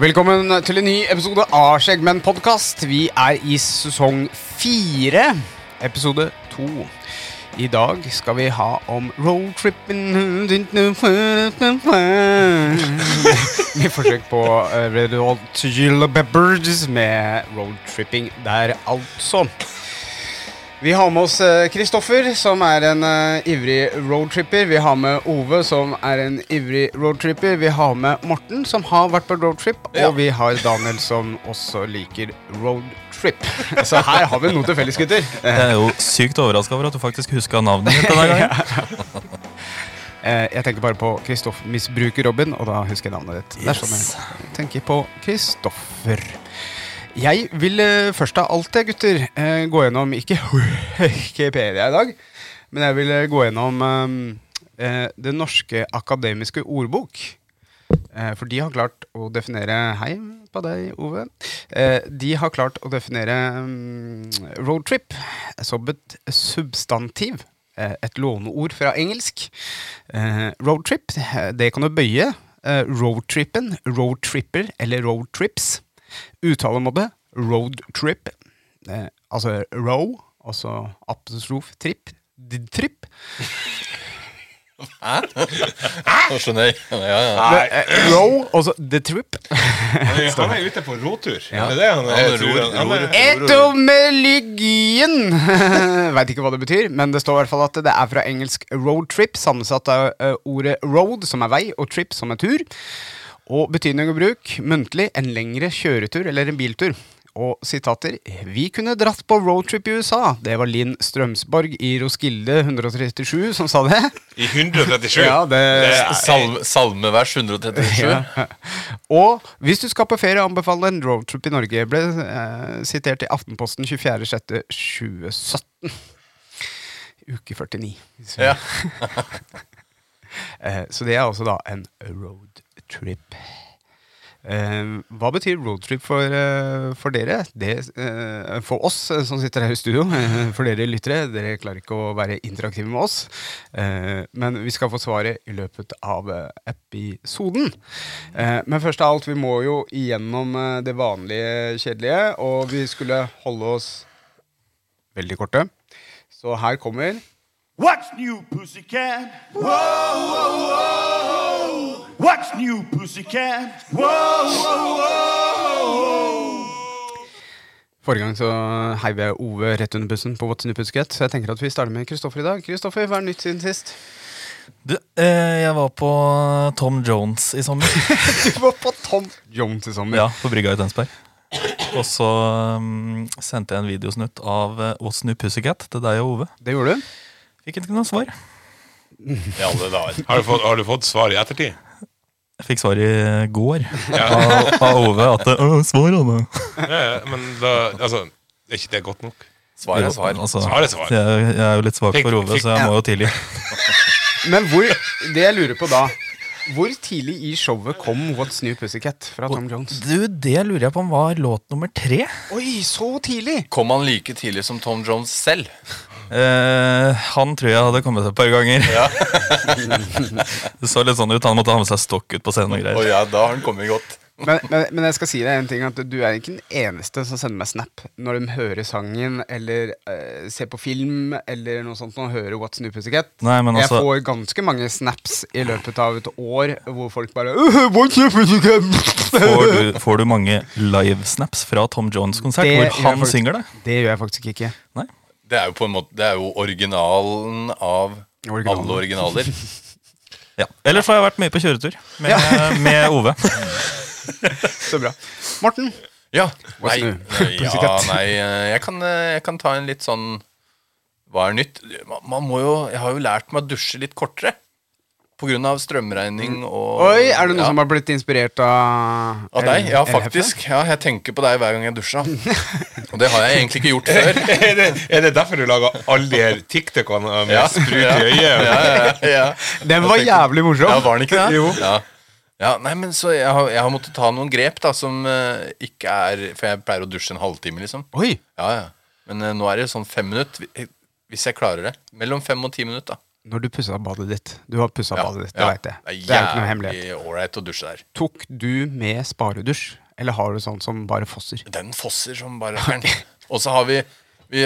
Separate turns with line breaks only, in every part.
Velkommen til en ny episode av Skjeggmenn-podkast. Vi er i sesong fire, episode to. I dag skal vi ha om roadtrippen Vi forsøk på eh, Red Hot Chili Peppers med roadtripping der, altså. Vi har med oss eh, Kristoffer, som er en eh, ivrig roadtripper. Vi har med Ove, som er en ivrig roadtripper. Vi har med Morten, som har vært på roadtrip.
Ja.
Og vi har Daniel, som også liker roadtrip. Så her har vi noe til felles, gutter.
Jeg er jo sykt overraska over at du faktisk huska navnet mitt. denne gangen.
Eh, jeg tenker bare på Kristoff misbruker Robin, og da husker jeg navnet ditt. Det er sånn
Yes.
jeg tenker på Kristoffer. Jeg vil eh, først av alt, det, gutter, eh, gå gjennom ikke Wikipedia i dag, men jeg vil eh, gå gjennom eh, eh, Det norske akademiske ordbok. Eh, For de har klart å definere Hei på deg, Ove. Eh, De har klart å definere mm, roadtrip som et substantiv. eh, Et låneord fra engelsk. Eh, Roadtrip, eh, det kan du bøye. Eh, Roadtrippen, roadtripper eller roadtrips. Uttalemåte roadtrip. Eh, Altså row, altså apostrof tripp. d- Tripp.
Nå skjønner jeg. Ja, ja.
Men, eh, Row, altså the trip.
Han er ute på rotur. Ja. Det er det han,
Han
jeg tror
ror,
han- han er-
ror.
Etymologien Veit ikke hva det betyr, men det står i hvert fall at det er fra engelsk road trip, sammensatt av eh, ordet road, som er vei, og trip, som er tur. Og betydning og bruk, muntlig, en lengre kjøretur eller en biltur. Og sitater Vi kunne dratt på roadtrip i USA. Det var Linn Strømsborg i Roskilde 137 som sa det.
I 137.
Ja, det
Salme, salmevers 137.
Ja. Og hvis du skal på ferie, anbefaler en roadtrip i Norge. Ble eh, sitert i Aftenposten 24.6.2017. Uke 49. hvis vi-
Ja.
Eh, så det er altså da en roadtrip. Eh, hva betyr roadtrip for, eh, for dere? Det, eh, for oss eh, som sitter her i studio, eh, for dere lyttere. Dere klarer ikke å være interaktive med oss. Eh, men vi skal få svaret i løpet av eh, episoden. Eh, men først av alt, vi må jo igjennom eh, det vanlige kjedelige, og vi skulle holde oss veldig korte. Så her kommer
What's new, pussycat? Whoa, whoa, whoa. What's new, pussycat? Whoa, whoa, whoa.
Forrige gang så heiv jeg Ove rett under bussen på What's New Pussycat, så jeg tenker at vi starter med Kristoffer i dag. Kristoffer, hva er nytt siden sist?
Du, eh, jeg var på eh, Tom Jones i sommer.
Du var på Tom Jones i sommer.
Ja, På brygga i Tønsberg. Og så mm, sendte jeg en videosnutt av eh, What's New Pussycat til deg og Ove.
Det gjorde du?
Fikk ikke noe svar.
I alle dager.
Har, du fått, har du fått svar i ettertid?
Jeg fikk svar i går av, av Ove at «Å, Svar, Anne!
Ja, ja, Eh, men da Altså, er ikke det godt nok?
Svar er svar.
Altså,
Svar er svar.
Jeg, jeg er jo litt svak
Fikk-
for Ove,
fikk-
så jeg må jo tilgi.
Men hvor Det jeg lurer på da Hvor tidlig i showet kom What's New Pussycat fra Tom Jones?
Du, det lurer jeg på om var låt nummer tre.
Oi, så tidlig!
Kom han like tidlig som Tom Jones selv?
Eh, han tror jeg hadde kommet et par ganger. det så litt sånn ut. Han måtte ha med seg stokk ut på scenen og
Å
greier.
ja, da har han kommet godt.
Men, men, men jeg skal si deg en ting at du er ikke den eneste som sender meg snap når de hører sangen eller eh, ser på film eller noe sånt og hører What's New Pussycat.
Nei, men altså-
Jeg får ganske mange snaps i løpet av et år hvor folk bare «Øh, What's New Pussycat?
Får du, får du mange livesnaps fra Tom Jones-konsert
Det
hvor
gjør jeg
han
faktisk.
synger det?
Det gjør jeg faktisk ikke.
Nei?
Det er jo på en måte Det er jo originalen av
Originalen.
alle originaler.
Ja. Ellers har jeg vært mye på kjøretur med, med Ove.
Så bra. Morten,
Ja,
What's
nei, eh,
new?
ja, nei eh, jeg, kan, eh, jeg kan ta en litt sånn Hva er nytt? Man, man må jo Jeg har jo lært meg å dusje litt kortere. På Pga. strømregning og
Mm. Oi, er det noen
ja.
som har blitt inspirert av
Av deg? Ja,
LF?
faktisk. Ja, jeg tenker på deg hver gang jeg dusjer. Og det har jeg egentlig ikke gjort før.
Er det, er det derfor du lager alle de her TikTokene med
Ja.
sprut i øyet?
Ja, ja, ja.
Den var
Jeg tenkte-
jævlig morsom.
Ja, var den ikke det?
Jo.
Ja. Ja, nei, men så jeg har, jeg har måttet ta noen grep da som eh, ikke er For jeg pleier å dusje en halvtime, liksom.
Oi.
Ja, ja. Men eh, nå er det sånn fem minutter. vi- Hvis jeg klarer det. Mellom fem og ti minutter. da.
Når du pussa badet ditt. Du har pussa badet ditt, det vet jeg.
Det
Det er jo ikke noe
er
hemmelighet.
jævlig ålreit å dusje der.
Tok du med sparedusj, eller har du sånn som bare fosser?
Den fosser som bare rakkeren. Og så har vi vi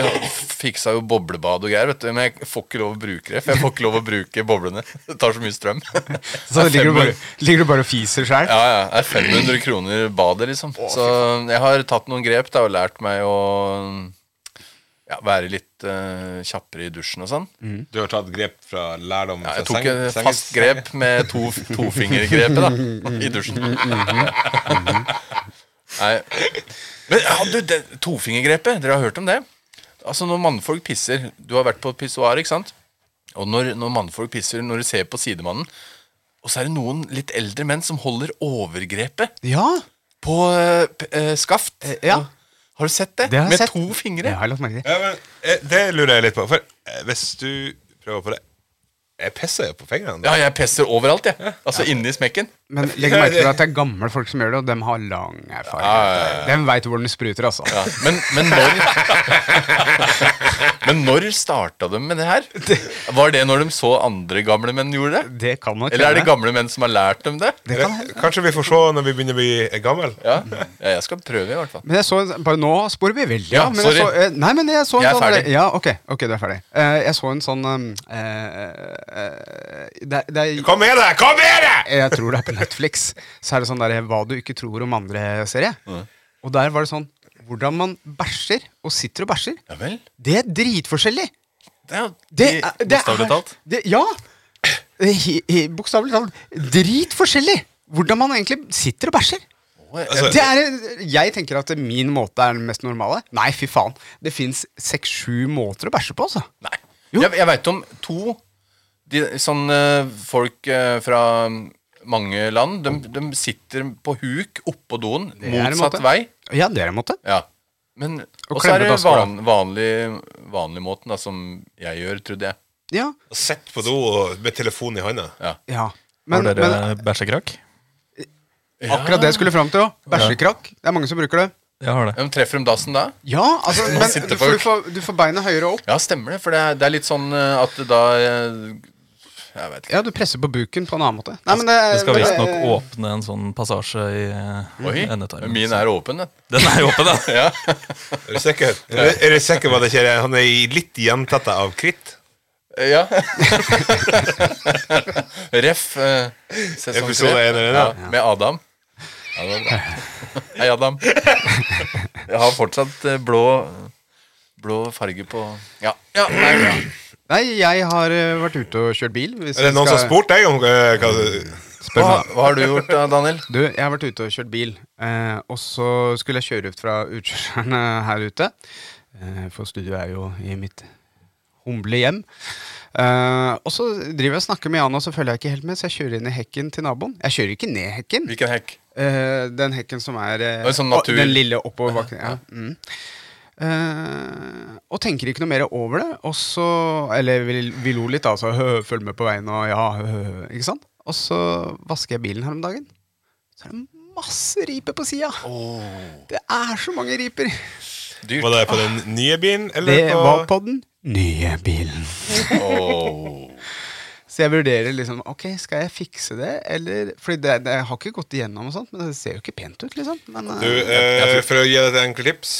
fiksa jo boblebad og greier, vet du, men jeg får ikke lov å bruke det. For jeg får ikke lov å bruke boblene. Det tar så mye strøm.
Så
Det er
ligger du bare,
500
ligger du bare og fiser sjæl?
Ja, ja. Det er 500 kroner badet, liksom. Så jeg har tatt noen grep da, og lært meg å ja, være litt eh, kjappere i dusjen og sånn.
Du har tatt grep fra lærdom
Ja, jeg
fra
tok et
seng-
fast grep med to, tofingergrepet da, i dusjen. Nei. Men ja, du, det, tofingergrepet, dere har hørt om det? Altså Når mannfolk pisser Du har vært på et pissoar, ikke sant? Og når, når mannfolk pisser, når du ser på sidemannen Og så er det noen litt eldre menn som holder overgrepet
Ja,
på eh, p- eh, skaft.
ja.
Har du sett det?
det har jeg
med
sett.
to fingre.
Det har jeg lagt merke til.
Ja, men eh, Det lurer jeg litt på. For eh, hvis du prøver på det Jeg pisser jo på fingrene.
Ja,
Da.
jeg pisser overalt, jeg. Altså inni smekken.
Men legg merke til at det er gamle folk som gjør det, og dem har lang erfaring. De veit hvordan det spruter, altså.
Ja, men, men når Men når starta de med det her? Var det når de så andre gamle menn gjorde det?
Det kan nok
Eller er det
hende.
gamle menn som har lært dem det?
Det kan hende.
Kanskje vi får se når vi begynner å bli eh, gammel
Ja, ja jeg skal prøve, i hvert fall.
Men jeg så bare Nå sporer vi veldig.
Ja,
men
sorry.
Jeg så, eh, nei, men jeg så en
Jeg er
sånn
ferdig.
Ja, ok, ok, du er ferdig. Eh, jeg så en sånn eh, eh, det, er- det er-
Hva med det? Hva med det?
jeg tror det er på Netflix, så er det sånn der Hva du ikke tror om andre-serie. Og der var det sånn Hvordan man bæsjer, og sitter og bæsjer,
Ja vel?
det er dritforskjellig.
Det er,
Det,
de-
er- det
bokstavelig
er-
talt?
Det, ja. He- he- Bokstavelig talt. Dritforskjellig hvordan man egentlig sitter og bæsjer.
Altså,
Det er, jeg tenker at min måte er den mest normale. Nei, fy faen. Det fins seks-sju måter å bæsje på, altså.
Nei.
Jo.
Jeg, jeg veit om to de, sånn eh, folk eh, fra mange land. De, de sitter på huk oppå doen,
er en
motsatt
måte.
vei.
Ja, det er en måte.
Ja. Men
Og
Og så er
klemmer
det
dasskola.
van, vanlig, vanlig måten, da, som jeg gjør, trodde jeg.
Ja.
Sitt på do og- med telefonen i hånda.
Ja.
ja.
Har
Men, men
dere bæsjekrakk?
akkurat det jeg skulle fram til òg. Bæsjekrakk. Det er mange som bruker det.
Jeg har det.
Ja, men treffer de dassen da?
Ja, altså, men
sitter
du får, du,
folk.
får, du får beina høyere opp.
Ja, stemmer det. For det er, det er litt sånn eh, at da eh, Jeg vet ikke.
Ja, du presser på buken på en annen måte. Nei, men det,
Du
men
skal
det-
visstnok åpne en sånn passasje i eh,
Oi,
endetarmen.
min er åpen, den.
Den er jo åpen, da!
Er du sikker? Er, er du sikker på at det ikke er- han er i- litt gjentetta av kritt?
Eh, Ja. Ref. eh, sesong
Episode
tre.
én eller en,
ja,
ja.
Med Adam. Ja, det var bra. Hei, Adam. Jeg har fortsatt eh, blå Blå farge på Ja. ja nei, ja.
Nei, jeg har eh, vært ute og kjørt bil. Hvis
Er det
vi
noen som
skal-
har spurt deg om eh, hva du-
Spør
Hva,
meg.
hva har du gjort, da, Daniel?
Du, jeg har vært ute og kjørt bil, eh, og så skulle jeg kjøre ut fra utkjørselen eh, her ute. Eh, for studio er jo i mitt humble hjem. Eh, og så driver jeg og snakker med Jan, og så følger jeg ikke helt med, så jeg kjører inn i hekken til naboen. Jeg kjører ikke ned hekken.
Hvilken hekk?
Eh, den hekken som er eh,
Og sånn
å-
natur-
Den lille oppoverbakken. Ja. Mm. Eh, og tenker ikke noe mer over det. Og så Eller vi, vi lo litt, altså. Følg med på veien og ja, hø, hø, hø, ikke sant? Og så vasker jeg bilen her om dagen. Så er det masse riper på sida. Det er så mange riper.
Var det på den nye bilen, eller
Det
på
var på den nye bilen.
Åh.
Så jeg vurderer liksom Ok, skal jeg fikse det, eller Fordi det, det, jeg har ikke gått igjennom og sånt, men det ser jo ikke pent ut, liksom. Men, eh,
Du, eh, for å gi deg et enkelt tips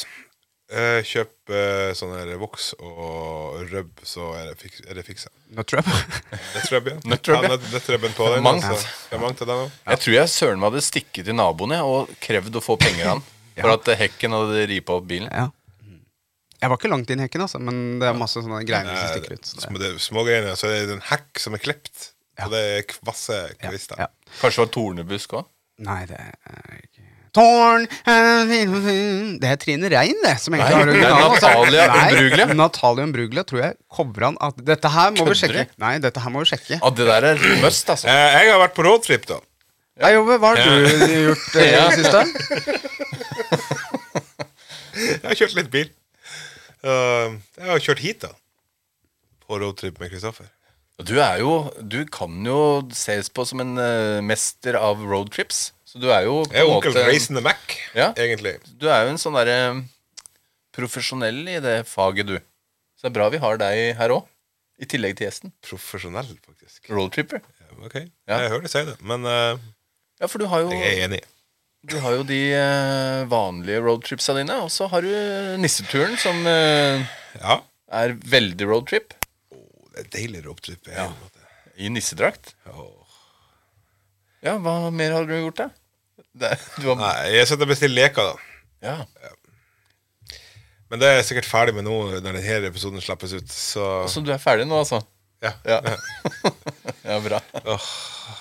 eh, Kjøp eh, sånn her voks og røbb, så er det, fiks, er det fiksa.
Nå tror jeg på
Nøttrøbb, ja.
Nøttrøbb, ja.
ja. nøtt- Nøttrøbben på den.
Mangt.
Altså. Det er mangt av den òg.
Jeg tror jeg søren meg hadde stikket til naboen jeg, og krevd å få penger av han. For at eh, hekken hadde ripa opp bilen.
Ja. Jeg var ikke langt inn i hekken, altså, men det er masse sånne greier som stikker ut. Så det,
Små, Eh, det er små greiene. Så er det en hekk som er klipt, og det er kvasse
ja,
kvister.
ja.
Kanskje det var tornebusk òg.
Nei, det er ikke Tårn eh, Det er Trine Rein, det. Som egentlig
Nei,
har
det er
originalen. altså.
Natalia
Nei,
Umbruglia.
Natalia Umbruglia tror jeg covra den at Dette her må vi
Kødder
sjekke.
du?
Nei, dette her må vi sjekke.
Ja, det der er must, altså.
Eh, jeg har vært på roadtrip, da.
Ja, Jove, hva har du gjort eh, i det siste?
Jeg har kjørt litt bil. Eh, jeg har kjørt hit, da. På roadtrip med Kristoffer.
Du er jo Du kan jo ses på som en eh, mester av roadtrips. Så du er jo på
Jeg er
en
onkel
måte-
Racing the Mac,
Ja.
egentlig.
Du er jo en sånn derre eh, profesjonell i det faget, du. Så det er bra vi har deg her òg. I tillegg til gjesten.
Profesjonell, faktisk.
Roadtripper.
Ok, Jeg hører du si det, men eh,
Ja, for du har jo,
jeg er enig.
du har jo de eh, vanlige roadtripsa dine, og så har du nisseturen, som eh,
Ja.
er veldig roadtrip.
Det er deilig roadtrip. på en måte.
I nissedrakt.
Åh.
Ja, hva mer har du gjort, da? Det, du har,
Nei, jeg sitter og bestiller leker, da.
ja.
Men det er jeg sikkert ferdig med nå når denne episoden slippes ut. Så
Så du er ferdig nå, altså?
ja.
Ja, ja bra.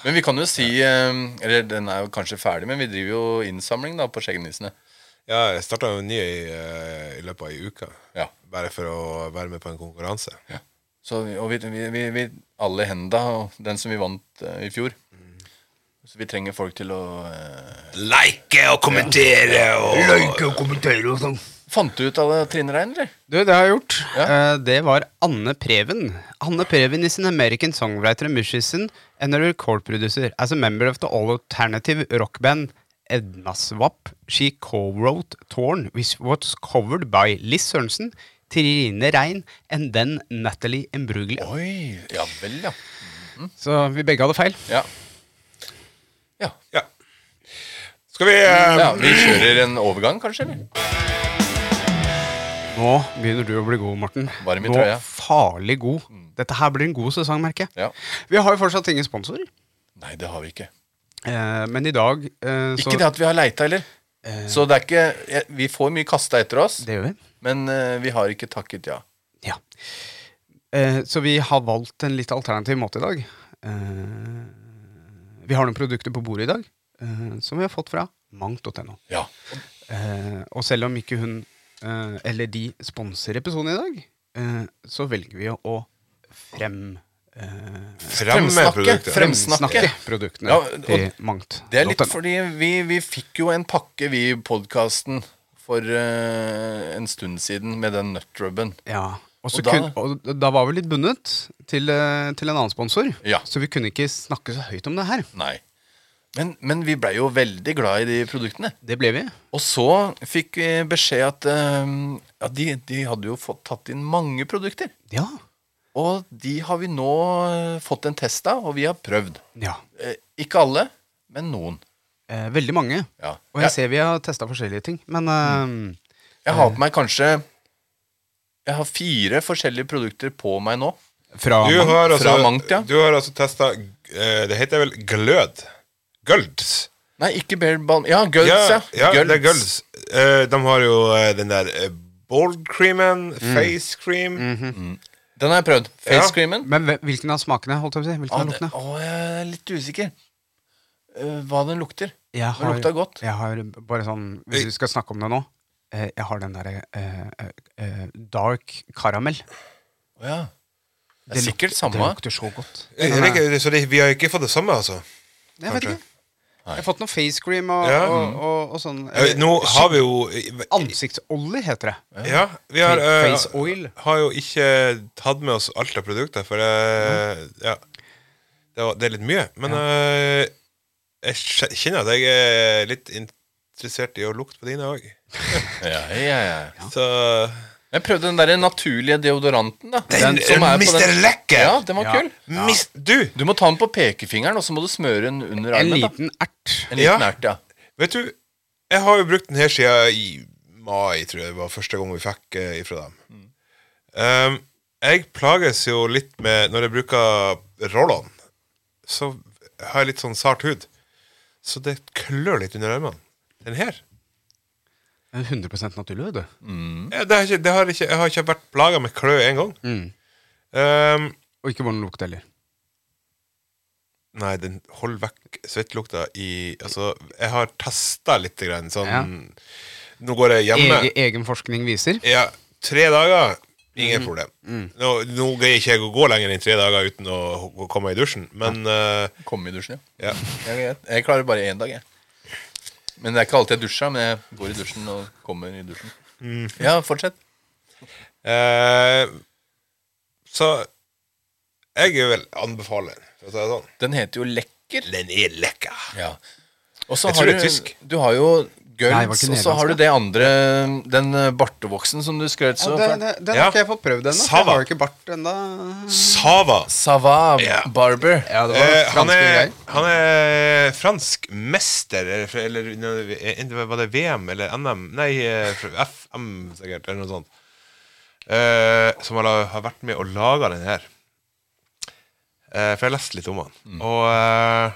Men vi kan jo si eh, Eller den er jo kanskje ferdig, men vi driver jo innsamling da på Skjeggenissene.
ja jeg starta en ny i, eh, i løpet av ei uke.
Ja.
Bare for å være med på en konkurranse.
Så, vi- og vi, vi, vi, vi alle henda, og den som vi vant eh, i fjor. Så vi trenger folk til å eh,
Like og kommentere og
Fant du ut av det, Trine Rein, eller?
Du, det har jeg gjort.
Ja.
Eh, Det var Anne Preven. Anne Preven is an American songwriter and musician and a record producer. As a member of the all-alternative rock band Ednasvap, she co-wrote Torn, which was covered by Liz Sørensen, Trine Rein and then Natalie Imbruglia.
Oi, ja vel, ja.
Så vi begge hadde feil.
Ja,
Ja. Skal vi eh,
ja Vi kjører en overgang, kanskje? eller?
Nå begynner du å bli god, Morten.
Varm i
Nå
trøya.
farlig god. Dette her blir en god sesong, merker jeg.
Ja.
Vi har jo fortsatt ingen sponsorer.
Nei, det har vi ikke.
Eh, men i dag eh, så
Ikke det at vi har leita heller. Så det er ikke jeg- Vi får mye kasta etter oss,
Det gjør vi.
men eh, vi har ikke takket ja.
Ja. Eh, så vi har valgt en litt alternativ måte i dag. Eh, vi har noen produkter på bordet i dag eh, som vi har fått fra mangt.no.
Ja.
Eh, og selv om ikke hun eh, eller de sponser episoden i dag, eh, så velger vi å, å frem... Eh,
fremme produktet?
Frem- Fremsnakke.
produktene
Ja, og
til mangt.
Det er litt fordi vi, vi fikk jo en pakke, vi, i podkasten for eh, en stund siden med den nøttrubben.
Ja. Og, så
Og da-
kun, og da var vi litt bundet til, eh, til en annen sponsor,
Ja.
så vi kunne ikke snakke så høyt om det her.
Nei. Men, men vi blei jo veldig glad i de produktene.
Det ble vi.
Og så fikk vi beskjed at eh, ja, de, de hadde jo fått tatt inn mange produkter.
Ja.
Og de har vi nå eh, fått en test av, og vi har prøvd.
ja.
Eh, ikke alle, men noen.
Eh, veldig mange.
Ja.
Og jeg ser vi har testa forskjellige ting. Men eh,
Jeg har på meg kanskje Jeg har fire forskjellige produkter på meg nå.
fra
Du har altså,
Fra Mangt, ja.
du har altså testa Det heter vel glød? Gølds?
Nei, ikke Bear Balm. Ja, Gulls, ja.
ja,
Gulls.
det er gølds. Eh, de har jo eh, den der eh, bald creamen, face cream
Den har jeg prøvd.
Ja.
Face creamen.
Men hve- hvilken av smakene? holdt jeg på å si? Hvilken
Ah,
av
det-
luktene?
å, jeg er litt usikker Eh, hva den lukter.
Jeg
Den lukta godt.
Jeg har bare sånn, Hvis vi skal snakke om det nå eh, Jeg har den derre eh, eh, eh, dark caramel.
Å ja. Det er
luk-
sikkert samme. Eh,
Det lukter så godt.
Jeg- jeg liker det, Eh, Så det, vi har ikke fått det samme, altså?
Jeg vet
Kanskje.
ikke. Jeg har fått noe face cream og,
Ja.
og, og, og sånn.
Eh,
eller-
Nå har vi jo eh,
Ansiktsolje heter det.
Ja, vi har, eh,
Face oil.
har jo ikke tatt med oss alt av produkter, for eh, ja. det, var, det er litt mye. Men eh, jeg kj- kjenner at jeg er litt interessert i å lukte på dine òg.
Ja, ja, ja.
Så
Jeg prøvde den der naturlige deodoranten. da
Den- Mr. Lekker!
Ja, den var
Ja.
kul.
eh, mis, Du!
Du må ta den på pekefingeren, og så må du smøre den under
En
armen. da
liten ert.
En
Ja.
liten ert, ja.
Vet du, jeg har jo brukt den her siden i mai, tror jeg det var første gang vi fikk eh, ifra dem. Um, jeg plages jo litt med Når jeg bruker rollene, så har jeg litt sånn sart hud. Så det klør litt under armene. Den her.
En 100 naturlig, vet du.
Jeg, det har ikke, det har ikke, jeg har ikke vært plaga med klø én gang. Um,
Og ikke hvordan den lukter heller.
Nei, den holder vekk svettelukta i Altså, jeg har testa litt grann, sånn
Ja.
Nå går jeg hjemme.
Ege,
eh,
egen forskning viser.
Ja, tre dager Ingen problem. Nå, nå greier ikke jeg å gå lenger enn tre dager uten å å komme i dusjen, men eh,
Komme i dusjen, ja.
ja.
Jeg, jeg, jeg klarer bare én dag, jeg. Men det er ikke alltid jeg dusjer, men jeg går i dusjen og kommer i dusjen.
Mm.
Ja, fortsett.
Eh, Så jeg vil anbefale den, for å si det sånn.
Den heter jo Lekker.
Den er lekker.
Ja. Og så
Jeg
har
tror
du,
det er tysk.
du har jo
Nei, det var
Gulls,
ikke
og så har du
nederlandsk,
det andre Den eh, bartevoksen som du skrøt så
den
fælt.
den
Ja.
har ikke jeg fått prøvd ennå. for
Sava.
Jeg har jo ikke bart ennå.
Sava.
Sava
Ja.
Barber.
Ja, det var
Eh, han,
franske
er,
greier.
han er fransk mester, eller, fra- eller eh, var det VM eller NM? Nei, eh, fra FM sikkert, eller noe sånt. Eh, som har, la- har vært med og laga den her. Eh, for jeg har lest litt om han.
Mm.
Og eh,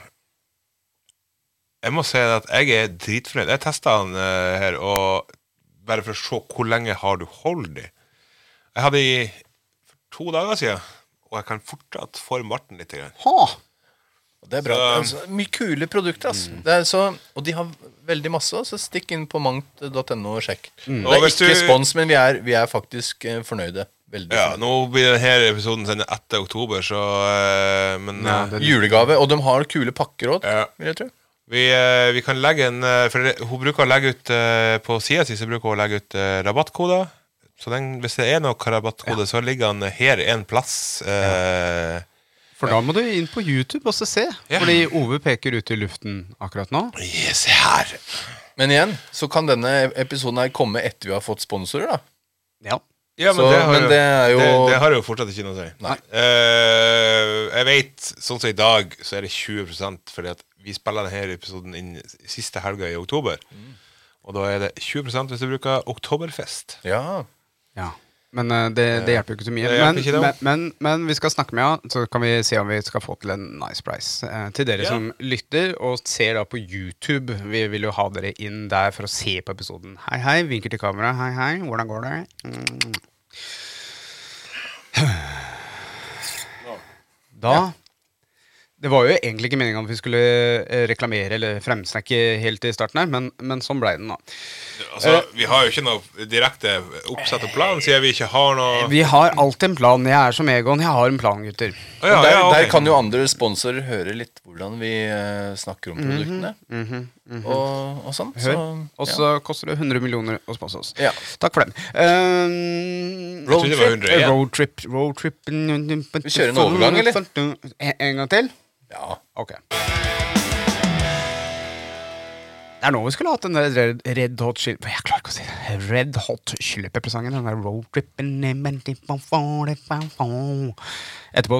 jeg må si at jeg er dritfornøyd. Jeg testa han eh, her, og bare for å se hvor lenge har du holdt i. Jeg hadde i for to dager siden, og jeg kan fortsatt forme barten litt. Grann.
Ha!
Det er bra. Altså, mye kule produkter. ass.
Mm.
Det er så, og de har veldig masse, så stikk inn på mangt.no og sjekk. Det
Mm. Og
er
hvis
ikke
du-
spons, men vi er, vi er faktisk eh, fornøyde. Veldig
Ja,
fornøyde.
nå blir denne episoden sendt etter oktober, så eh, Men
Ja,
eh,
det-
Julegave. Og de har kule pakker òg,
Ja.
vil jeg tro.
vi, eh, vi kan legge en eh, For det- hun bruker å legge ut eh, på sida si så bruker hun å legge ut eh, rabattkoder. Så den, hvis det er noe rabattkode, så ligger den her en plass. eh,
For da må du inn på YouTube og så se.
Ja.
Fordi Ove peker ut i luften akkurat nå.
ja, Se her!
Men igjen, så kan denne episoden her komme etter vi har fått sponsorer, da.
Ja.
Ja, men,
Så-
det, har
men
jo,
det er jo-
det, det har jo fortsatt ikke noe å si.
Nei.
Eh, jeg vet, sånn som i dag, så er det 20 fordi at vi spiller denne episoden inn siste helga i oktober.
Mm.
Og da er det 20 hvis du bruker Oktoberfest.
Ja.
ja. Men eh, det, det hjelper jo ikke så mye.
Det hjelper
Men,
ikke det,
men, men, men vi skal snakke med henne, så kan vi se om vi skal få til en nice price. Eh, til dere
Ja.
som lytter og ser da på YouTube. Vi vil jo ha dere inn der for å se på episoden. Hei, hei. Vinker til kamera. Hei, hei. Hvordan går det? Mm. Da Det var jo egentlig ikke meninga at vi skulle eh, reklamere eller fremsnakke helt i starten her, men, men sånn blei den, da.
Altså,
Eh.
Vi har jo ikke noe direkte oppsett og plan, siden vi ikke har noe
Eh, Vi har alltid en plan. Jeg er som Egon, jeg har en plan, gutter.
Å, ja,
Og der,
ja, ok.
der kan jo andre sponsorer høre litt hvordan vi eh, snakker om produktene. og, og sånn. Så,
Mhm, Hør. Og så koster det 100 millioner å sponse oss.
Ja.
Takk for den. Um,
Jeg trodde det var 100 igjen.
Roadtrip roadtrip Vi
kjører en overgang, eller?
En, en gang til?
ja. ja.
Ok. Det er nå vi skulle hatt den der Red, red Hot Chili Jeg klarer ikke å si det. Red Hot Chili Pepper-sangen. Den der roadtrippen Etterpå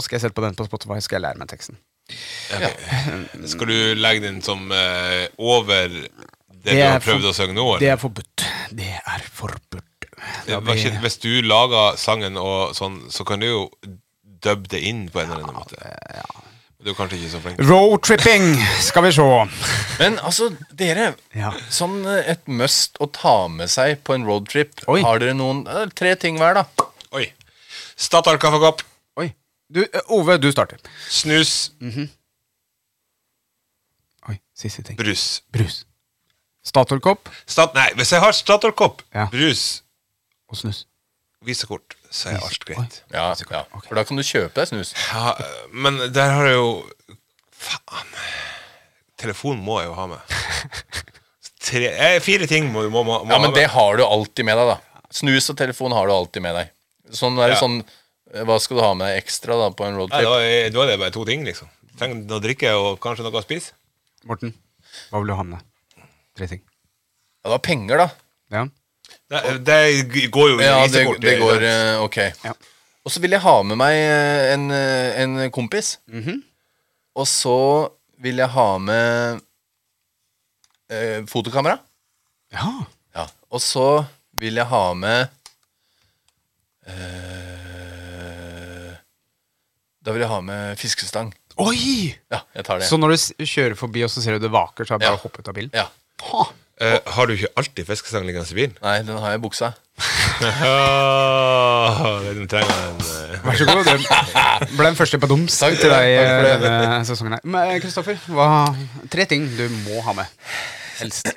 skal jeg sette på den på Spotify, skal jeg lære meg teksten.
Skal du legge den som eh, over det, du
er
har prøvd
for-
å synge nå? eller? Eh,
Det er forbudt. Det er forbudt.
Det
Da
var
blir-
ikke, hvis du lager sangen og sånn, så kan du jo dubbe det inn på en eller annen måte.
eh,
Du er kanskje ikke så flink.
Roadtripping, skal vi se.
Men altså, dere.
Ja.
Sånn eh, et must å ta med seg på en roadtrip.
Oi.
Har dere noen eh, Tre ting hver, da.
Oi. Statoil kaffekopp.
Oi. Du, eh, Ove, du starter.
Snus.
Oi, siste ting.
Brus.
Brus. Statoil-kopp
Stat nei, hvis jeg har Statoil-kopp,
Ja.
brus,
og snus.
visekort, så er alt greit.
Ja, ja. For da kan du kjøpe deg snus.
Ja, men der har jeg jo Faen. Telefon må jeg jo ha med. Tre, eh, fire ting må du må, må, må
Ja,
ha
Men
med.
det har du alltid med deg, da. Snus og telefon har du alltid med deg. Sånn er det
Ja.
sånn eh, Hva skal du ha med deg ekstra da på en
Nei,
roadtrip?
da, er, da er det bare to ting, liksom. Trenger noe å drikke og kanskje noe å spise.
Morten, hva vil du ha med deg? Tre ting.
Ja, det var penger, da.
Ja.
Nei, det g- går jo
Ja, det,
visekort,
det
er
går
sant.
eh, ok.
Ja.
Og så vil jeg ha med meg eh, en, eh, en kompis. Og så vil jeg ha med eh, fotokamera.
ja.
Ja. Og så vil jeg ha med eh, Da vil jeg ha med fiskestang.
Oi!
Ja, jeg tar det.
Så når du s- kjører forbi og så ser du det vaker, så har jeg bare
Ja.
hoppet av bilen?
Ja.
Ha.
Eh, har du ikke alltid fiskestang liggende i bilen?
Nei, den har jeg i buksa.
Ja, den trenger en eh,
Vær så god. Det ble den første på dums
Takk.
til deg eh,
Takk for det.
denne sesongen. her. Men eh, Kristoffer, hva- tre ting du må ha med. Helst.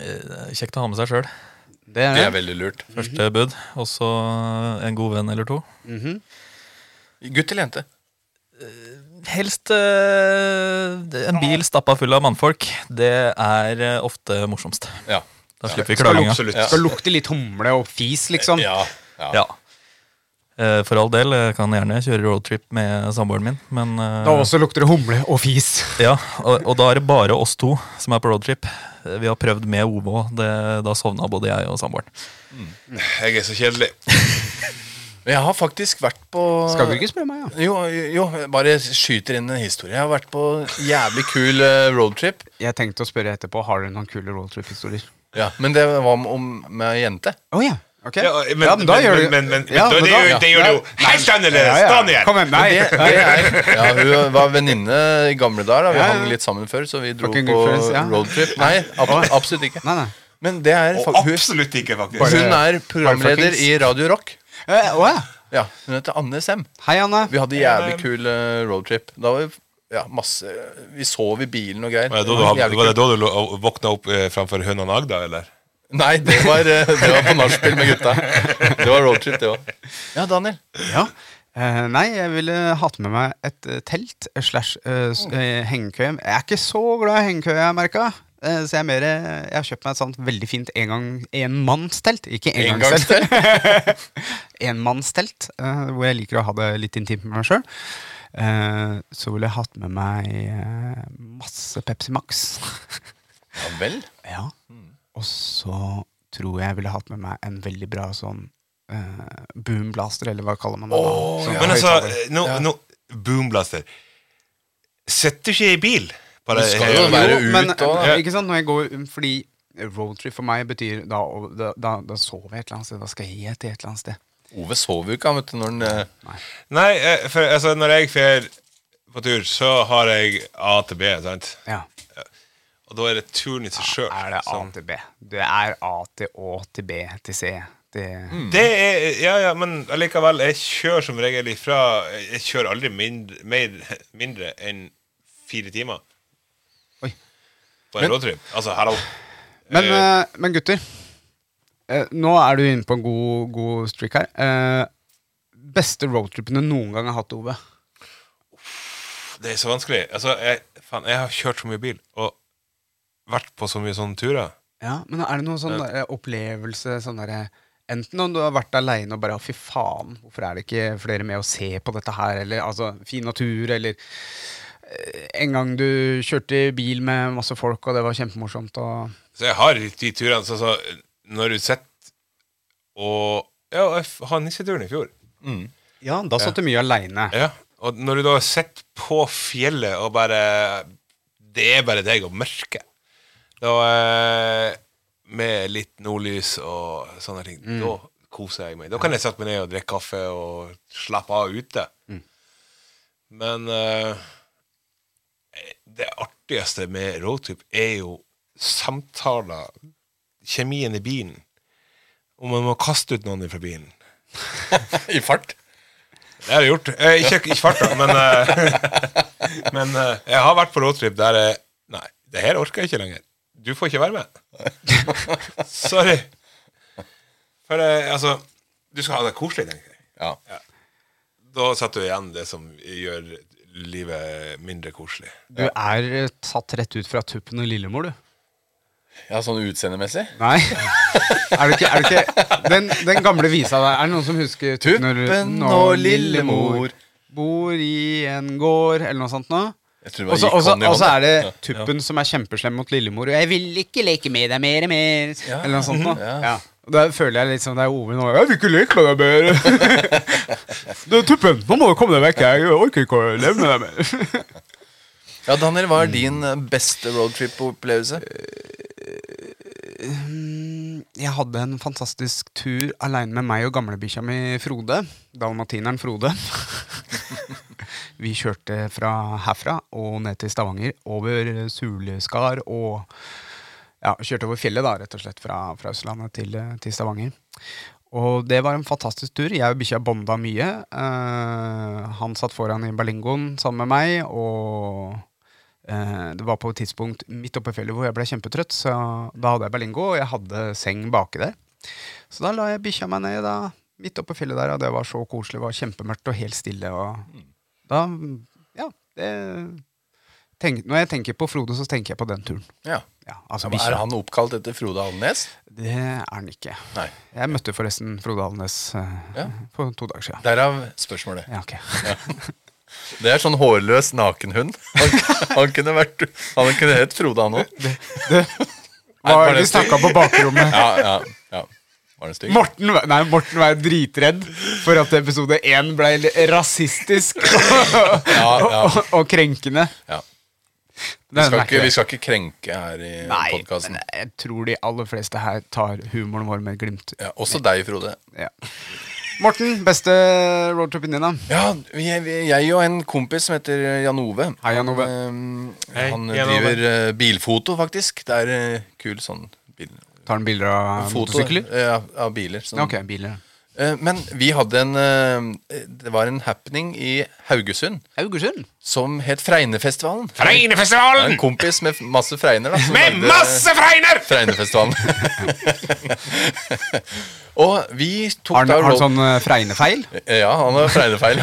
Eh, Kjekt å ha med seg sjøl.
Det er
Det er
det.
veldig lurt.
Første bud. Og så en god venn eller to.
Gutt eller jente?
Helst eh, en bil stappa full av mannfolk. Det er eh, ofte morsomst.
Ja.
Da slipper vi
Skal
klaginga.
lukte,
Ja.
skal lukte litt humle og fis, liksom.
Ja. ja.
Ja. Eh, For all del, jeg kan gjerne kjøre roadtrip med samboeren min, men eh,
Da også lukter det humle og fis.
Ja, og, og da er det bare oss to som er på roadtrip. Eh, Vi har prøvd med Ove òg. Det- Da sovna både jeg og samboeren.
Jeg er så kjedelig.
Men Jeg har faktisk vært på
Skal du ikke spørre meg, ja?
Jo, jo, bare skyter inn en historie. Jeg har vært på jævlig kul eh, roadtrip.
Jeg tenkte å spørre etterpå Har dere noen kule roadtrip-historier.
Ja, men det var om, om med jente.
Å ja. Ok.
Ja, men,
Ja, men da gjør du
men, men, men, men,
Ja,
da-
men
det,
da-
gjør, jo- det gjør det jo helt annerledes!
Ja, ja.
Daniel!
Kom igjen. Nei.
Det, det er, ja, hun var venninne i gamle dager. Da. Vi
Ja, ja.
hang litt sammen før, så vi dro
Fucking
på
good friends, ja.
roadtrip. Nei, ab absolutt ikke.
Nei, nei.
Men det er
Og
fak- hun,
absolutt ikke, faktisk.
Bare-
hun er programleder i
fuckings-
Radio Rock.
Eh, å ja.
Ja, Hun heter Anne Sem.
Hei, Anne.
Vi hadde jævlig kul eh, roadtrip. Da var vi, ja, masse, vi sov i bilen og greier.
Var det da
var
du,
jævlig
var det
kult.
da du lo- våkna opp eh, framfor høna Agda, eller?
Nei, det var, eh, det var på nachspiel med gutta. Det var roadtrip, det òg. Ja, Daniel.
Ja. Eh, nei, jeg ville hatt med meg et eh, telt eh, slash eh, s- eh, hengekøye. Jeg er ikke så glad i hengekøye, jeg merka. Eh, så jeg, er mer, eh, jeg har kjøpt meg et sånt veldig fint engang- enmannstelt. Ikke engangstelt. enmannstelt, eh, hvor jeg liker å ha det litt intimt med meg sjøl. Eh, så ville jeg hatt med meg eh, masse Pepsi Max.
Ja vel.
ja.
Mm.
Og så tror jeg jeg ville hatt med meg en veldig bra sånn eh, boomblaster, eller hva kaller man det? da? Sånn
Men altså,
høyttaler.
nå, nå Boomblaster. Sitter du ikke i bil? Bare,
Du skal jo
Eh,
være-
Jo,
ut
men,
og-
eh, ikke sant, når jeg går Fordi roadtrip for meg betyr da, og da, da, da sover jeg et eller annet sted. Da skal jeg til et eller annet sted.
Ove sover jo ikke, han, vet du, når han eh,
Nei, eh, for altså, når jeg drar på tur, så har jeg A til B, sant?
Ja.
Og da er det turen i seg sjøl.
Er det
Sånn.
A til B? Det er A til Å til B til C til
Det er, ja, ja, men allikevel, jeg kjører som regel ifra Jeg kjører aldri mindre, mer, mindre enn fire timer.
Oi.
På en roadtrip. Altså, hallo.
Men,
Eh.
eh, men gutter, eh, nå er du inne på en god, god streak her. Eh, beste roadtripen du noen gang har hatt, Ove?
Det er så vanskelig. Altså, jeg, faen, jeg har kjørt så mye bil og vært på så mye sånne turer.
Ja, men er det noen sånn der, eh, opplevelse sånn derre Enten om du har vært aleine og bare 'fy faen, hvorfor er det ikke flere med å se på dette her', eller altså, 'fin natur', eller eh, en gang du kjørte bil med masse folk, og det var kjempemorsomt, og
Så jeg har de turene sånn som når du sitter og Ja, og jeg f- har nisseturen i fjor.
Ja, da satt du mye aleine.
Ja. Og når du da sitter på fjellet og bare Det er bare deg og mørket. Da eh, Med litt nordlys og sånne ting. Da koser jeg meg. Da kan jeg sette meg ned og drikke kaffe og slappe av ute. Men eh, det artigste med roadtrip er jo samtaler. Kjemien i bilen. Om man må kaste ut noen fra bilen.
I fart.
Det har jeg gjort. Eh, ikke ikke fart, da, men, eh, men eh, jeg har vært på roadtrip der eh, Nei, det her orker jeg ikke lenger. Du får ikke være med. Sorry. For eh, altså Du skal ha det koselig, tenker jeg.
Ja.
Da setter du igjen det som gjør livet mindre koselig.
Du er eh, tatt rett ut fra Tuppen og Lillemor, du.
ja, sånn utseendemessig.
Nei. er du ikke, er du ikke den, den gamle visa der, er det noen som husker
Tuppen og Lillemor.
bor i en gård, eller noe sånt noe?
Jeg tror det
Og så
gikk
og så-
hånd i
og så
hånd,
er det
ja.
Tuppen som er kjempeslem mot Lillemor. Og 'jeg vil ikke leke med deg mer og mer', eller noe sånt noe.
ja.
Ja. Og Da føler jeg litt som det er Ove nå. 'Jeg vil ikke leke med deg mer'. du, Tuppen, nå må du komme deg vekk. Jeg orker ikke å leve med deg mer.
Ja, Daniel, hva er Eh, din eh, beste roadtrip-opplevelse?
Eh, Jeg hadde en fantastisk tur aleine med meg og gamlebikkja mi Frode. Dalmatineren Frode. Vi kjørte fra herfra og ned til Stavanger, over Suleskar og ja, kjørte over fjellet, da, rett og slett, fra, fra Østlandet til, eh, til Stavanger. Og det var en fantastisk tur. Jeg og bikkja bonda mye. Eh, han satt foran i berlingoen sammen med meg, og eh, det var på et tidspunkt midt oppe i fjellet hvor jeg ble kjempetrøtt, så da hadde jeg berlingo, og jeg hadde seng baki der. Så da la jeg bikkja meg ned da, midt oppe i fjellet der, og det var så koselig. Det var kjempemørkt og helt stille. Og da, ja, det tenk, Når jeg tenker på Frode, så tenker jeg på den turen.
Ja.
Ja, altså
Er
bikkja.
han oppkalt etter Frode Alnes?
Det er han ikke.
Nei.
Jeg møtte forresten Frode Alnes eh,
Ja.
for to dager siden.
Derav spørsmålet.
Ja, ok.
Det er sånn hårløs nakenhund. Han, han kunne vært Han kunne hett Frode, han òg.
Hva
var
er det
det
vi snakka på bakrommet?
Ja, ja, ja. Var den stygg?
Morten, var- nei, Morten var dritredd for at episode én ble litt rasistisk og,
Ja, ja,
og, og krenkende.
ja.
Nei,
Vi, skal
den er
ikke, vi
det.
skal ikke krenke her i
Nei,
podkasten.
men jeg tror de aller fleste her tar humoren vår med et glimt.
Ja, også deg, Frode.
Ja. Morten, beste roadtripen din, da?
Ja, jeg, jeg og en kompis som heter eh, Jan Ove.
Hei, Jan Ove.
Han, eh,
Hei,
han
Jan Ove.
driver eh, bilfoto, faktisk. Det er eh, kul sånn bil,
Tar han bilder av
foto
motorsykler?
Ja, av biler. Sånn.
Ok, biler.
Eh, Men vi hadde en eh, Det var en happening i Haugesund
Haugesund?
som het Fregnefestivalen. Det er
Fregnefestivalen!
En kompis med f- masse fregner. da som
Med
lagde-
masse fregner!
Fregnefestivalen. og vi tok
Har han,
da
har han
roll-
sånn eh, fregnefeil?
Ja, han har fregnefeil.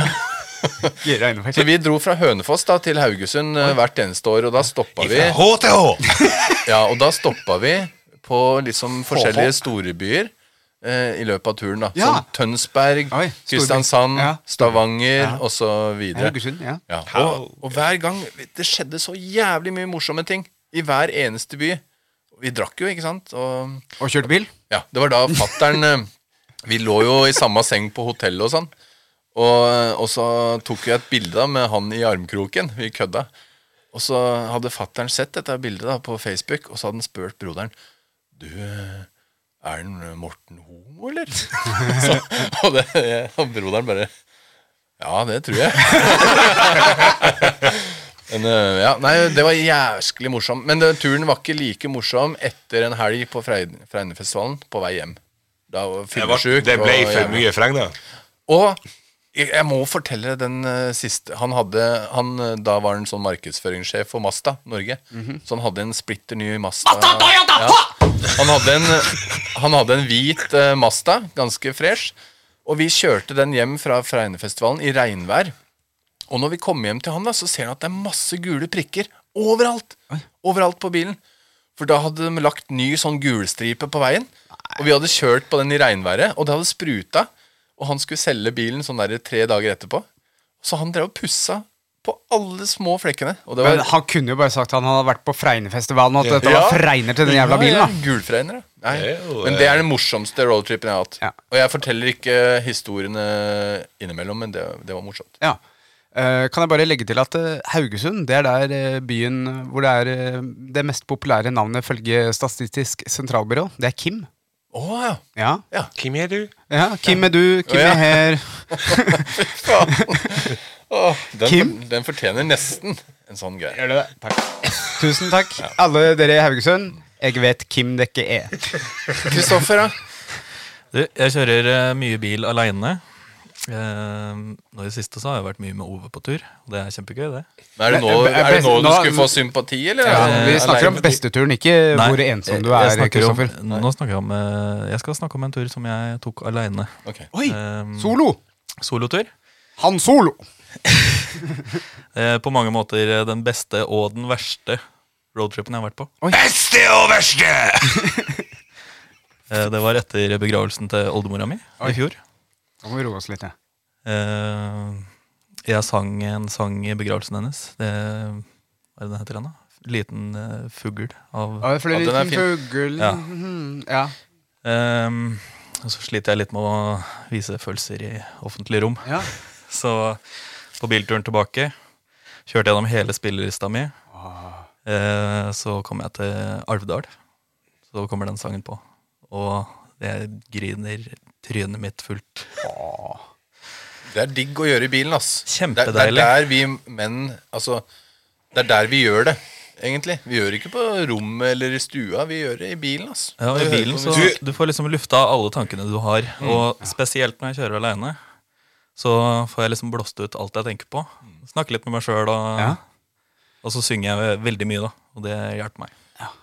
Ikke regnefeil.
Så vi dro fra Hønefoss da til Haugesund eh, hvert eneste år, og da stoppa vi,
Fra HTH!
ja, og da stoppa vi på liksom forskjellige storbyer eh, i løpet av turen. da
Ja.
Som Tønsberg,
Oi, storby.
Kristiansand,
Ja.
Stavanger og så videre.
Haugesund, ja.
Ja, og, og hver gang Det skjedde så jævlig mye morsomme ting i hver eneste by. Vi drakk jo, ikke sant? Og
Og kjørte bil?
ja, det var da fatteren Vi lå jo i samme seng på hotellet og sånn. Og, eh, og så tok vi et bilde da med han i armkroken. Vi kødda. Og så hadde fattern sett dette bildet da på Facebook, og så hadde han spurt broderen Du, eh, er den Morten homo, eller? så, og, det, og broderen bare Ja, det tror jeg. Men, eh, ja, nei, det var jæsklig morsomt. Men det, turen var ikke like morsom etter en helg på Freid- Fregnefestivalen på vei hjem. Da var
Det, var,
fyllesjuk,
det ble
og
for
jævlig-
mye fregner.
og jeg jeg må fortelle deg den eh, siste han hadde, han, eh, Da var han sånn markedsføringssjef for Masta Norge. Så han hadde en splitter ny Masta. Ja. Han, hadde en, han hadde en hvit eh, Masta, ganske fresh. Og vi kjørte den hjem fra Fregnefestivalen i regnvær. Og når vi kommer hjem til han, da, så ser han at det er masse gule prikker overalt. Overalt på bilen. For da hadde de lagt ny sånn gulstripe på veien. Og vi hadde kjørt på den i regnværet, og det hadde spruta. Og han skulle selge bilen sånn der tre dager etterpå. Så han drev og pussa på alle små flekkene. Og det var
Men han kunne jo bare sagt at han hadde vært på Fregnefestivalen, og at dette
Ja.
var fregner til den jævla
Ja,
bilen.
ja, gulfregner, ja. Nei.
Det er jo,
Men det er den morsomste roadtripen jeg har hatt.
Ja.
Og jeg forteller ikke historiene innimellom, men det, det var morsomt.
da Ja. Eh, kan jeg bare legge til at eh, Haugesund det er der eh, byen hvor det er eh, det mest populære navnet følge Statistisk sentralbyrå. Det er Kim.
Å ja.
Ja,
Hvem er du?
ja Kim er du, Kim
Å, ja.
er her.
Åh, den,
Kim?
for- den fortjener nesten en sånn greie.
Gjør du det? Takk. Tusen takk, alle dere i Haugesund. Jeg vet Kim Dekke er.
Kristoffer, da?
Du, jeg kjører eh, mye bil aleine. Eh, nå i det siste så har jeg vært mye med Ove på tur. og Det er kjempegøy, det.
Er det nå,
Men,
er det nå du
nå-
skulle få sympati, eller?
Ja,
Er det
vi snakker om
alene?
besteturen, ikke
Nei,
hvor ensom du
jeg-
er,
jeg snakker om-
Kristoffer.
Nå snakker jeg om eh, Jeg skal snakke om en tur som jeg tok aleine.
Ok.
Oi!
Eh,
Solo!
solotur.
Han solo!
Eh, på mange måter eh, den beste og den verste roadtripen jeg har vært på.
Beste og verste!
Eh, det var etter begravelsen til oldemora mi i fjor.
Da må vi roe oss litt. Ja.
Eh, jeg sang en sang i begravelsen hennes. Det, hva er det den heter den, da? Liten eh, fugl av
Ja, for det er
Ja, den
liten
er fin.
fugl
Ja.
Mhm, ja.
Ehm, og så sliter jeg litt med å vise følelser i offentlige rom.
ja.
Så på bilturen tilbake kjørte gjennom hele spillelista mi. Eh, så kom jeg til Alvdal. Så kommer den sangen på. Og jeg griner trynet mitt fullt.
Det er digg å gjøre i bilen, ass. Det er, det
Kjempedeilig.
er der vi menn Altså, det er der vi gjør det. egentlig. Vi gjør det ikke på rommet eller i stua, vi gjør det i bilen. ass.
Ja, og I
Vi hører
bilen
på
så
musikk. Mm.
du får liksom lufta alle tankene du har. Og spesielt når jeg kjører aleine, så får jeg liksom blåst ut alt jeg tenker på. Snakke litt med meg sjøl, og,
Ja.
og så synger jeg veldig mye, da. Og det hjelper meg.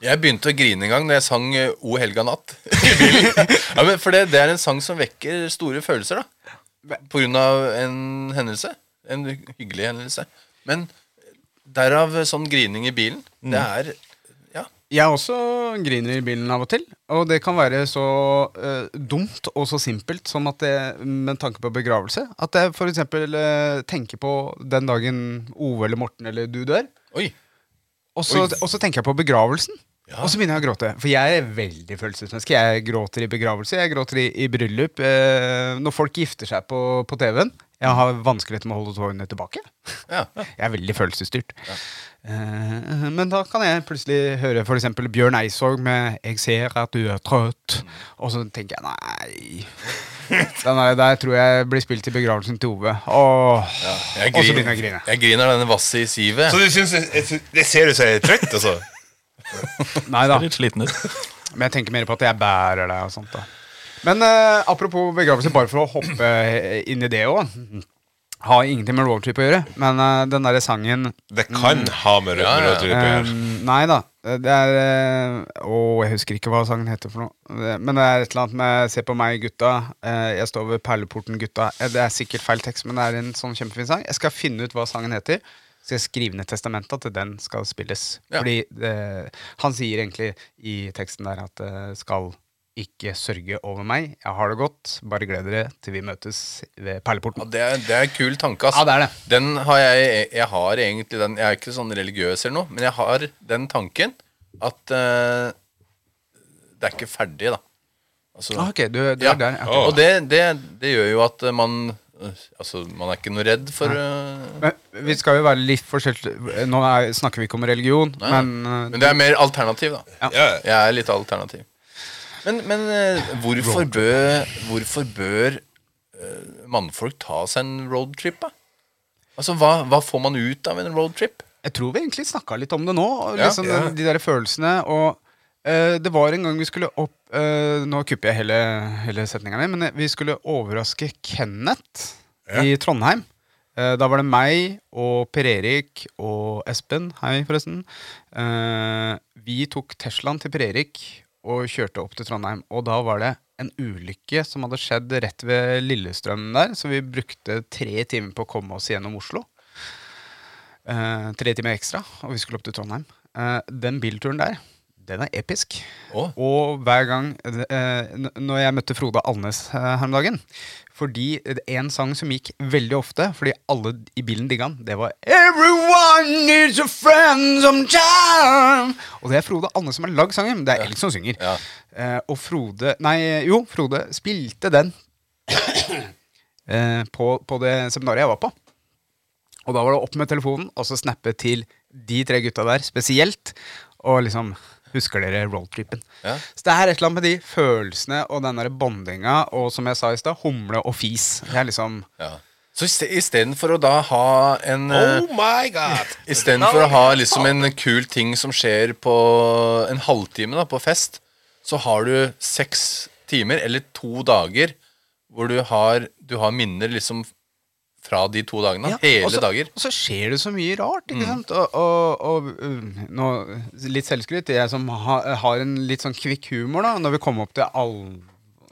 Jeg begynte å grine en gang når jeg sang eh, O helga natt. i bilen. ja, men for det, det er en sang som vekker store følelser, da. På grunn av en hendelse. En hyggelig hendelse. Men derav eh, sånn grining i bilen. Det
Mm.
er Ja.
Jeg også griner i bilen av og til, og det kan være så eh, dumt og så simpelt som at det, med tanke på begravelse, at jeg f.eks. Uh, tenker på den dagen Ove eller Morten eller du dør,
Oi.
og så,
Oi.
og så tenker jeg på begravelsen. Og så begynner jeg å gråte. For jeg er veldig følelsesmenneske. Jeg gråter i begravelse, jeg gråter i, i bryllup. Eh, når folk gifter seg på, på TV-en. Jeg har vanskeligheter med å holde tårene tilbake.
Ja.
Jeg er veldig følelsesstyrt. Eh, men da kan jeg plutselig høre f.eks. Bjørn Eidsvåg med 'Jeg ser at du er trøtt', og så tenker jeg nei. Den der, der tror jeg blir spilt i begravelsen til Ove. Åh.
Jeg
Og så
griner-
begynner jeg å grine.
Jeg griner denne Vassi i sivet.
Så du syns jeg- jeg syns- Det ser ut som jeg er trøtt, altså?
Nei da.
Jeg er litt sliten ut.
Men jeg tenker mer på at jeg bærer deg og sånt da Men eh, apropos begravelse, bare for å hoppe eh, inn i det òg. Har ingenting med roadtrip å gjøre, men eh, den derre sangen
Det kan ha med rød
Mm. Ja,
rød-
Um. ja.
rød- rød- rød-
eh, Nei da. Det er eh, Å, jeg husker ikke hva sangen heter for noe. Det- Men det er et eller annet med 'Se på meg, gutta'. eh, 'Jeg står ved perleporten, gutta'. Eh, Det er sikkert feil tekst, men det er en sånn kjempefin sang. Jeg skal finne ut hva sangen heter. Så jeg skriver ned testamentet at den skal spilles.
Ja.
Fordi eh, han sier egentlig i teksten der at eh, 'skal ikke sørge over meg'. Jeg har det godt. Bare gled dere til vi møtes ved
Ja,
perleporten.
det, er, det er en kul tanke, ass.
Ja, det er det.
Den har jeg, e- jeg har egentlig den Jeg er ikke sånn religiøs eller noe, men jeg har den tanken at eh, det er ikke ferdig, da. Altså,
Ah, ok, du, du
ja.
er der. ja.
Og det, det, det gjør jo at man eh, Altså, man er ikke noe redd for eh,
Men vi skal jo være litt forskjellige Nå er, snakker vi ikke om religion,
Nei.
men, eh,
Men det er mer alternativ, da.
Ja.
Jeg er litt alternativ. Men, men eh, hvorfor bør, hvorfor bør eh, mannfolk ta seg en roadtrip, da? Altså, hva, hva får man ut av en roadtrip?
Jeg tror vi egentlig snakka litt om det nå. og
Ja.
Liksom den- De der følelsene. Og eh, det var en gang vi skulle opp eh, Nå kupper jeg hele, hele setninga mi, men eh, vi skulle overraske Kenneth i Trondheim. Eh, da var det meg og Per Erik og Espen. Hei, forresten. Eh, vi tok Teslaen til Per Erik og kjørte opp til Trondheim. Og da var det en ulykke som hadde skjedd rett ved Lillestrøm der, så vi brukte tre timer på å komme oss gjennom Oslo. Eh, tre timer ekstra, og vi skulle opp til Trondheim. Eh, den bilturen der, den er episk.
Å.
Og hver gang eh, n- Når jeg møtte Frode Alnes eh, her om dagen Fordi det er en sang som gikk veldig ofte, fordi alle i bilen digga den, det var Everyone needs a friend sometime! Og det er Frode Alnes som har lagd sangen, men det er Elg som synger.
Ja.
Eh, og Frode Nei, jo, Frode spilte den eh, på, på det seminaret jeg var på. Og da var det opp med telefonen, og så snappe til de tre gutta der spesielt. Og liksom Husker dere roadtripen?
Ja.
Så det er et eller annet med de følelsene og den der bondinga og som jeg sa i stad, humle og fis. Det er liksom
Ja. Så istedenfor å da ha en eh,
Oh my god!
Istedenfor å ha liksom en kul ting som skjer på en halvtime da, på fest, så har du seks timer eller to dager hvor du har, du har minner liksom fra de to dagene.
Ja,
hele
og så,
dager. Mm.
Og så skjer det så mye rart, ikke sant? Og, og, og uh, nå, litt selvskryt, jeg som ha, har en litt sånn kvikk humor, da, når vi kom opp til Al,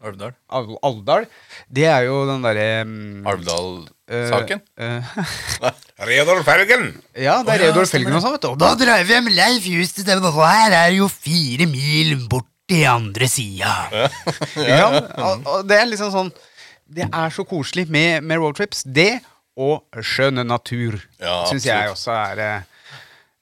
Alvdal.
Al, Alvdal, det er jo den derre um,
Alvdal-saken.
eh,
Reodor Felgen!
Ja, det er Reodor Felgen og sånn, vet du. Og da drar vi hjem Leif Just til og her er jo fire mil bort til andre sida. Ja, og, og det er liksom sånn Det er så koselig med, med roadtrips. Det og skjønn natur
Ja,
syns jeg også er eh,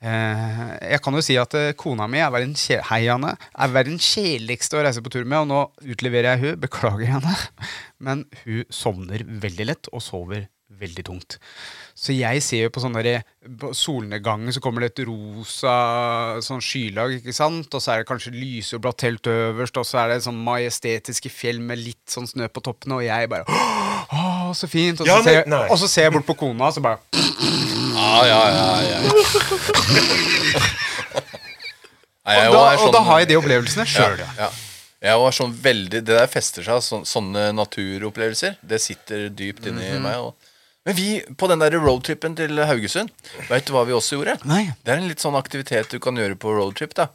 eh, jeg kan jo si at eh, kona mi er verdens kje- Hei, Anne. Er verdens kjedeligste å reise på tur med, og nå utleverer jeg hun Beklager, Anne. Men hun sovner veldig lett, og sover veldig tungt. Så jeg ser jo på sånne der- på solnedgangen så kommer det et rosa sånn skylag, ikke sant? Og så er det kanskje lyseblått telt øverst, og så er det sånn majestetiske fjell med litt sånn snø på toppene, og jeg bare Å, så fint! Og så,
Ja, men-
ser, jeg,
nei.
og så ser
Ah,
jeg bort på kona, og så bare
Ja, ja, ja, ja. Nei, jeg
Og da, og
er
da
sånn-
har jeg de opplevelsene sjøl, ja.
Ja. Jeg var sånn veldig Det der fester seg. Sånn, sånne naturopplevelser. Det sitter dypt inni
Mhm.
meg. Og, men vi, på den der roadtripen til Haugesund, veit du hva vi også gjorde?
Nei.
Det er en litt sånn aktivitet du kan gjøre på roadtrip. da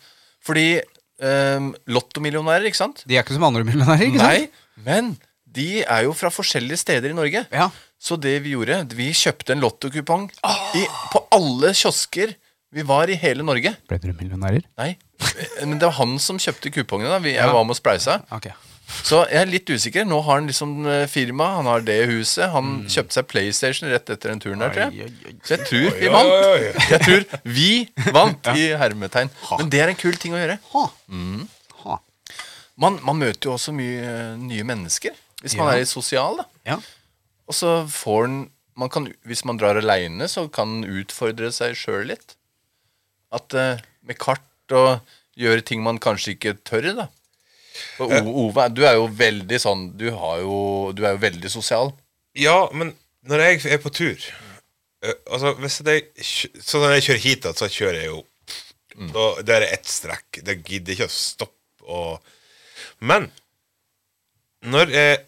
Fordi um, lottomillionærer, ikke sant?
De er ikke som andre millionærer, ikke sant?
Nei, men de er jo fra forskjellige steder i Norge.
Ja.
Så det vi gjorde, vi kjøpte en lottokupong i- på alle kiosker vi var i hele Norge.
Ble dere millionærer?
Nei, men det var han som kjøpte kupongene. da Vi, Jeg var med og spleisa.
Ok.
Så jeg er litt usikker. Nå har han liksom eh, firma, han har det huset.
Mm.
Han kjøpte seg PlayStation rett etter den turen der, tror jeg. Så jeg tror vi vant.
Oi, oi, oi.
Jeg tror vi vant i hermetegn. Men det er en kul ting å gjøre.
Ha. Mm. Ha.
Man, man møter jo også mye eh, nye mennesker. Hvis man
Ja.
er litt sosial, da.
Ja.
Og så får en man kan, Hvis man drar aleine, så kan en utfordre seg sjøl litt. At eh, Med kart og gjøre ting man kanskje ikke tør, da. For O- Ove, du er jo veldig sånn Du, har jo, du er jo veldig sosial.
Ja, men når jeg er på tur eh, Altså, hvis jeg kjø- Så når jeg kjører hit, da, så kjører jeg jo
Mm.
da, Det er ett strekk. Det gidder ikke å stoppe og Men når jeg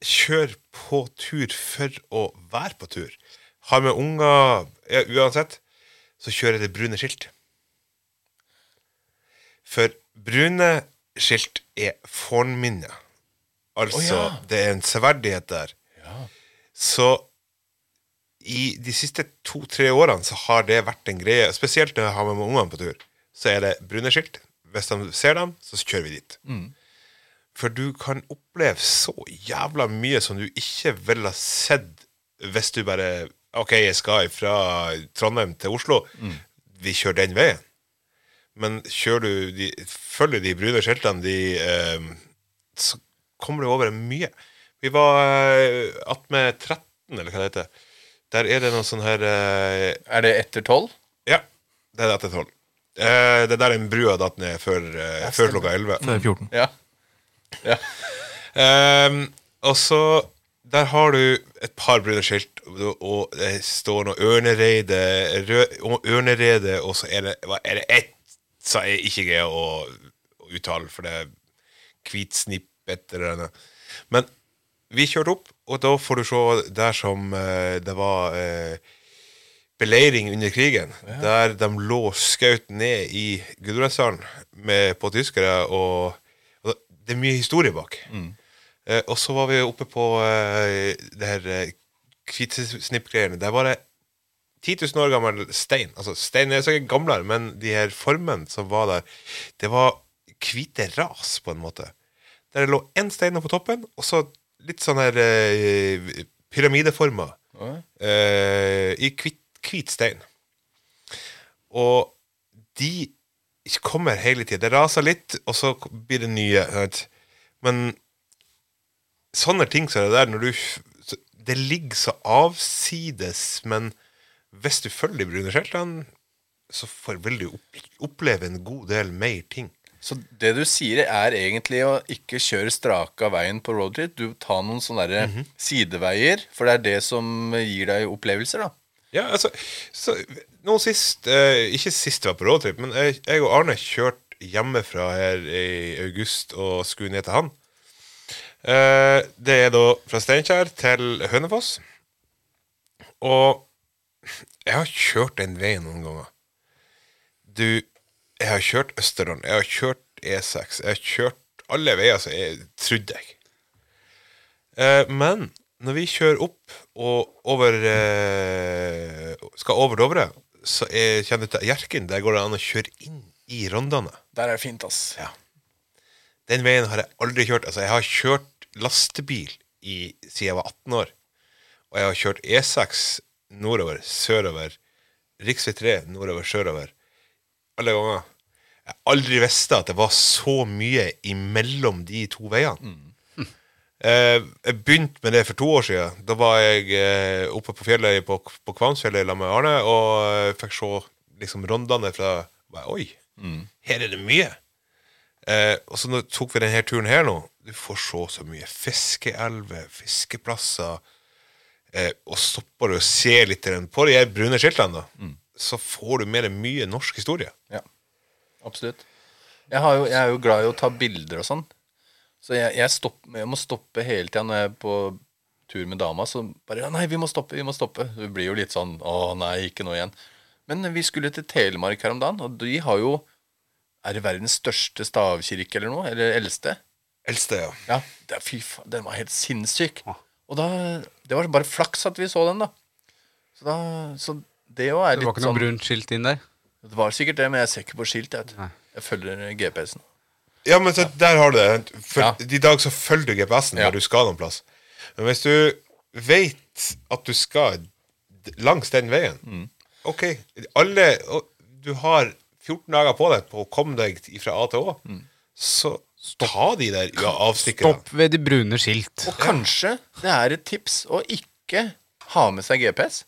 kjører på tur for å være på tur, har med unger ja, uansett, så kjører jeg det brune skilt. For brune skilt er fornminne. Altså,
Å, ja.
det er en severdighet der. Så i de siste to-tre årene så har det vært en greie, spesielt når jeg har med meg ungene på tur, så er det brune skilt. Hvis de ser dem, så kjører vi dit. For du kan oppleve så jævla mye som du ikke ville ha sett hvis du bare OK, jeg skal fra Trondheim til Oslo. Vi kjører den veien. Men kjører du de, følger de brune skiltene, de, eh, så kommer du over mye. Vi var eh, attmed 13, eller hva det heter. Der er det noe sånn her eh,
Er det etter tolv?
Ja, det er etter tolv. Eh, det er der den brua datt ned før, eh, før klokka 11.
Før 14.
Ja. ja.
Ehm, og så Der har du et par brune skilt, og- og det står noe ørnereide, rød, og ørnereide, og så er det, hva, er det ett som jeg ikke greier å, å uttale, for det er hvitsnippet eller noe. Men vi kjørte opp, og da får du se der som eh, det var eh, beleiring under krigen, der de lå skaut ned i Gudbrandsdalen med- på tyskere, og, og det er mye historie bak. Eh, og så var vi oppe på eh, det her eh, hvitesnippgreiene. Det er bare 10 000 år gammel stein. Altså, stein er sikkert gamlere, men de her formene som var der, det var hvite ras, på en måte. Der det lå én stein oppe på toppen, og så litt sånn her eh, pyramideformer eh, i hvit, hvit stein. Og de kommer hele tida. Det raser litt, og så blir det nye. Sant? Men sånne ting som det der når du, så- Det ligger så avsides, men hvis du følger de brune skjeltene, så får, vil du opp, oppleve en god del mer ting.
Så det du sier, er egentlig å ikke kjøre straka veien på roadtrip. Du tar noen sånne der
Mhm.
sideveier, for det er det som gir deg opplevelser, da.
Ja, altså så, Nå sist eh, Ikke sist jeg var på roadtrip, men jeg, jeg og Arne kjørte hjemmefra her i august og skulle ned til han. Eh, det er da fra Steinkjer til Hønefoss. Og jeg har kjørt den veien noen ganger. Du Jeg har kjørt Østerdalen, jeg har kjørt E6, jeg har kjørt alle veier som jeg trodde jeg. Eh, men når vi kjører opp og over eh, skal over Dovre, så er, kjenner du til Hjerkinn. Der går det an å kjøre inn i Rondane.
Der er det fint, ass.
Den veien har jeg aldri kjørt. Altså, jeg har kjørt lastebil i, siden jeg var 18 år. Og jeg har kjørt E6 nordover, sørover, rv. 3 nordover, sørover. Alle ganger. Jeg har aldri visst at det var så mye imellom de to veiene. Eh, jeg begynte med det for to år siden. Da var jeg eh, oppe på fjellet på, på Kvamsfjellet sammen med Arne og eh, fikk se liksom, rondene fra bare, Oi, her er det mye! Eh, og så nå tok vi denne turen her nå. Du får se så mye fiskeelver, fiskeplasser. Eh, og stopper du og ser litt til den på de her brune skiltene, da, så får du med deg mye norsk historie.
Ja, absolutt. Jeg, har jo, jeg er jo glad i å ta bilder og sånn. Så jeg, jeg, stopp, jeg må stoppe hele tida når jeg er på tur med dama. Så bare ja, 'Nei, vi må stoppe, vi må stoppe'. Det blir jo litt sånn 'Å nei, ikke nå igjen'. Men vi skulle til Telemark her om dagen, og de har jo Er det verdens største stavkirke eller noe? Eller eldste?
Eldste, ja.
Ja, det, er- fy faen, den var helt sinnssyk. Og da, Det var bare flaks at vi så den, da. Så, da, så det jo er
Det
litt
var ikke
sånn
noe brunt skilt inn der?
Det var sikkert det, men jeg ser ikke på skilt. Jeg, vet. du. jeg følger GPS-en.
Ja, men så, der har du det. For
Ja.
I dag så følger du GPS-en
Ja.
når du skal noen plass. Men hvis du vet at du skal d- langs den veien OK, alle og Du har 14 dager på deg på å komme deg fra A til Å. Så ta de der ja, avstikkerne.
Stopp ved de brune skilt.
Og kanskje det er et tips å ikke ha med seg GPS.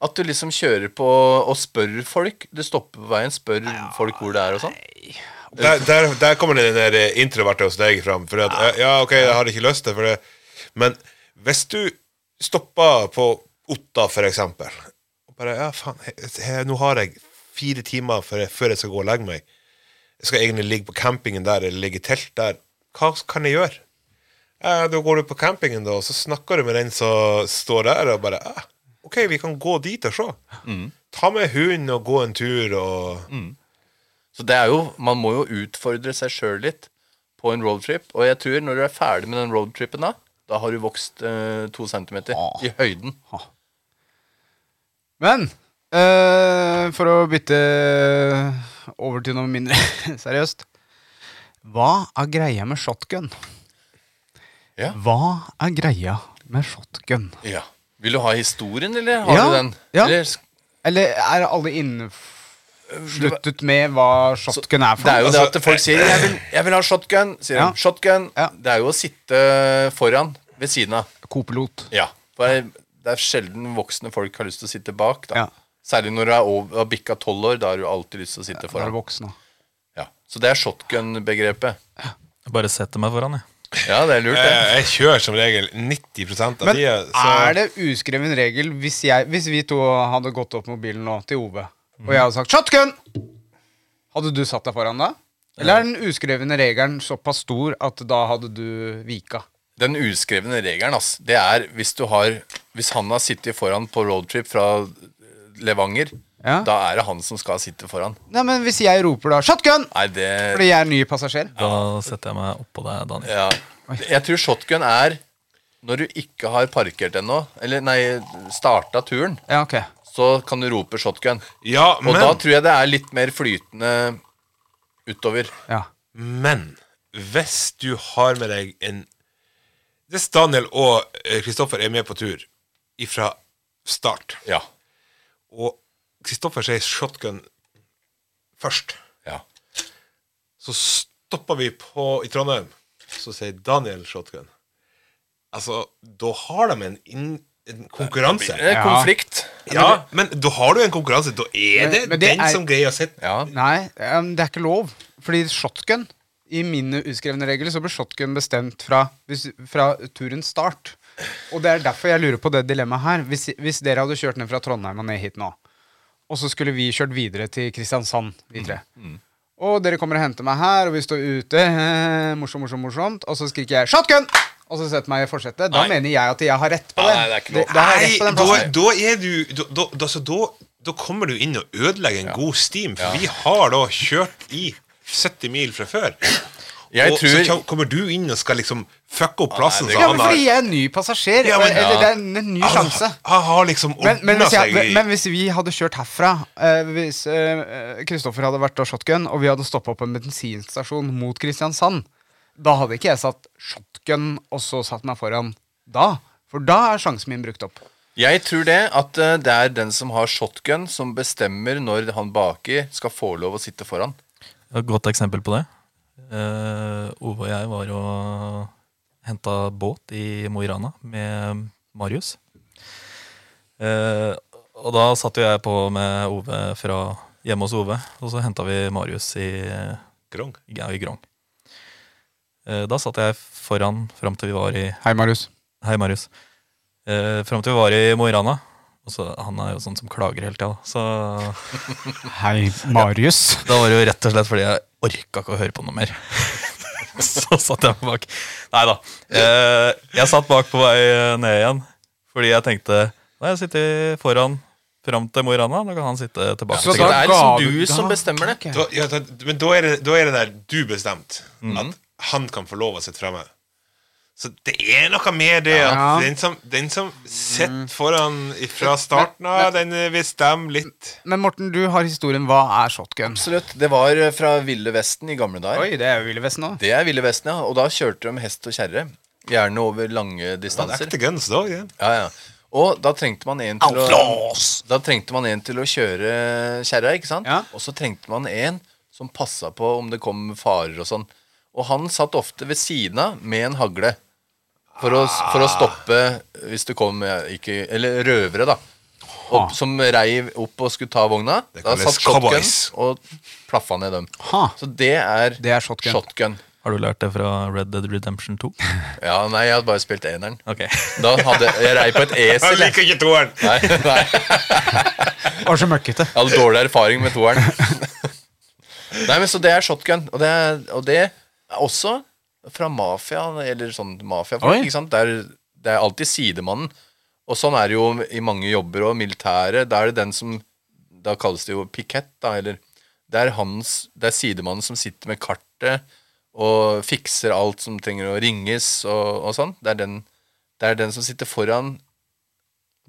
At du liksom kjører på og spør folk. Du stopper på veien, spør folk hvor det er og sånn.
Der, der, der kommer den der eh, introverte hos deg fram. For at, eh, ja, OK, jeg har ikke lyst til for det. Men hvis du stopper på Otta, for eksempel, og bare Ja, faen, he- he- nå har jeg fire timer før jeg, før jeg skal gå og legge meg. Jeg skal egentlig ligge på campingen der eller ligge i telt der. Hva kan jeg gjøre? Eh, da går du på campingen, da, og så snakker du med den som står der, og bare eh, OK, vi kan gå dit og se. Ta med hunden og gå en tur og
Så det er jo, man må jo utfordre seg sjøl litt på en roadtrip. Og jeg tror når du er ferdig med den roadtripen, da da har du vokst eh, to centimeter
Ah.
i høyden.
Men eh, for å bytte eh, over til noe mindre seriøst Hva er greia med shotgun?
Ja.
Hva er greia med shotgun?
Ja. Vil du ha historien, eller har
Ja,
du den?
ja.
Eller sk-
Eller er alle
Eh,
innsluttet med hva shotgun er for
Det er jo
noe? Altså,
det at folk sier 'jeg vil, jeg vil ha shotgun'. Sier
Ja.
de. Shotgun.
Ja.
Det er jo å sitte eh, foran, ved siden av.
Kopilot.
Ja. For det det er sjelden voksne folk har lyst til å sitte bak. Da.
Ja.
Særlig når du er over, har bikka tolv år. Da har du alltid lyst til å sitte
Da er du
foran.
voksen, da.
Ja. Så det er shotgun-begrepet.
Jeg bare setter meg foran, jeg.
Ja, det er lurt, det.
Eh, Jeg kjører som regel 90 av
Men
tida.
er det uskreven regel hvis, jeg, hvis vi to hadde gått opp mobilen nå til Ove, og jeg hadde sagt 'shotgun', hadde du satt deg foran da? Eller er den uskrevne regelen såpass stor at da hadde du vika?
Den uskrevne regelen, ass, det er hvis du har Hvis han har sittet foran på roadtrip fra eh, Levanger,
Ja.
da er det han som skal sitte foran.
Nei, men hvis jeg roper da 'shotgun'
Nei, det
fordi jeg er ny passasjer
Da setter jeg meg oppå deg, Daniel.
Ja. Jeg tror shotgun er når du ikke har parkert ennå, eller nei, starta turen,
Ja, ok.
så kan du rope shotgun.
Ja,
Og da
men,
tror jeg det er litt mer flytende utover.
Ja.
men hvis du har med deg en Hvis Daniel og eh, Kristoffer er med på tur ifra start,
Ja.
og Kristoffer sier shotgun først,
ja.
så stopper vi på i Trondheim, så sier Daniel shotgun. Altså, da har de en, inn, en konkurranse.
Det er Eh, konflikt.
Ja, men da har du en konkurranse. Da er det,
Men- men det
den
er-
som greier å sitte
Ja.
Nei, em, det er ikke lov. Fordi shotgun I mine uskrevne regler så ble shotgun bestemt fra, hvis, fra turens start. Og det er derfor jeg lurer på det dilemmaet her. Hvis, hvis dere hadde kjørt ned fra Trondheim og ned hit nå, og så skulle vi kjørt videre til Kristiansand, vi tre. Og dere kommer og henter meg her, og vi står ute, eh, morsom, morsom, morsomt, og så skriker jeg 'shotgun'! Og så setter jeg meg i forsetet. Da mener jeg at jeg har rett på det.
Nei, det er ikke lov.
da har jeg
Nei,
rett på den
da,
plassen.
da er du da, da, da, så da, da kommer du inn og ødelegger en god steam, for vi har da kjørt i 70 mil fra før.
Jeg
og
tror-
så kjem- kommer du inn og skal liksom fucke opp plassen.
det
så
Ja,
han
men
har-
fordi jeg er ny passasjer.
Ja, men-
eller, det er en ny sjanse.
Han, han har liksom
Men, men,
ordna
hvis jeg,
seg i
men hvis vi hadde kjørt herfra eh, Hvis eh, Kristoffer hadde vært da shotgun, og vi hadde stoppa på en bensinstasjon mot Kristiansand, da hadde ikke jeg satt shotgun og så satt meg foran da. For da er sjansen min brukt opp.
Jeg tror det at eh, det er den som har shotgun, som bestemmer når han baki skal få lov å sitte foran.
Jeg har Et godt eksempel på det. Eh, Ove og jeg var og henta båt i Mo i Rana med Marius. Eh, og da satt jo jeg på med Ove fra hjemme hos Ove, og så henta vi Marius i,
Grong.
ja, i Grong. Eh, da satt jeg foran fram til vi var i
Hei, Marius.
Hei, Marius. Eh, fram til vi var i Mo i Rana. Og så, han er jo sånn som klager hele tida, da. Så
Hei, Marius.
da var det jo rett og slett fordi jeg orka ikke å høre på noe mer. så satt jeg meg bak. Nei da. Eh, jeg satt bak på vei eh, ned igjen, fordi jeg tenkte Nå har jeg sittet foran fram til Mo i Rana, da kan han sitte tilbake.
Så
til Grønland.
da er
ga
liksom
du-
du
da-
som bestemmer det.
Da, ja, da, men da er, det, da er det der du bestemt
Mm.
at han kan få lov å sitte fremme. Så det er noe med det at
Ja. Mm.
den som, den som sitter foran fra starten av, den bestemmer litt.
Men Morten, du har historien. Hva er shotgun?
Absolutt. Det var eh, fra Ville Vesten i gamle dager.
Oi, det er jo Ville Vesten òg.
Det er Ville Vesten, ja. Og da kjørte de hest og kjerre. Gjerne over lange
Det er
distanser.
ekte guns da. Ja.
Ja, ja. Og da trengte man en til å, da trengte man en til å kjøre kjerra, ikke sant?
Ja.
Og så trengte man en som passa på om det kom farer og sånn. Og han satt ofte ved siden av med en hagle. For å, for å stoppe hvis det kom eh, ikke, Eller røvere, da. Opp, som reiv opp og skulle ta vogna.
Det
Da
kalles
satt shotgun
cowboys.
og plaffa ned dem.
Ha.
Så det er,
Det er shotgun.
Har du lært det fra Red Dead Redemption 2?
Ja, nei, jeg hadde bare spilt eneren.
Ok.
Da hadde jeg rei på et
Jeg
esel. jeg.
liker ikke toeren!
Nei, nei.
Var så møkkete.
Jeg hadde dårlig erfaring med toeren. Nei, men Så det er shotgun. Og det er, og det er også fra mafia, eller sånn
Oi.
mafiafolk. ikke sant? Det er, det er alltid sidemannen. Og sånn er det jo i mange jobber og militæret. Da er det den som Da kalles det jo pikett, da, eller Det er hans Det er sidemannen som sitter med kartet og fikser alt som trenger å ringes og, og sånn. Det er, den, det er den som sitter foran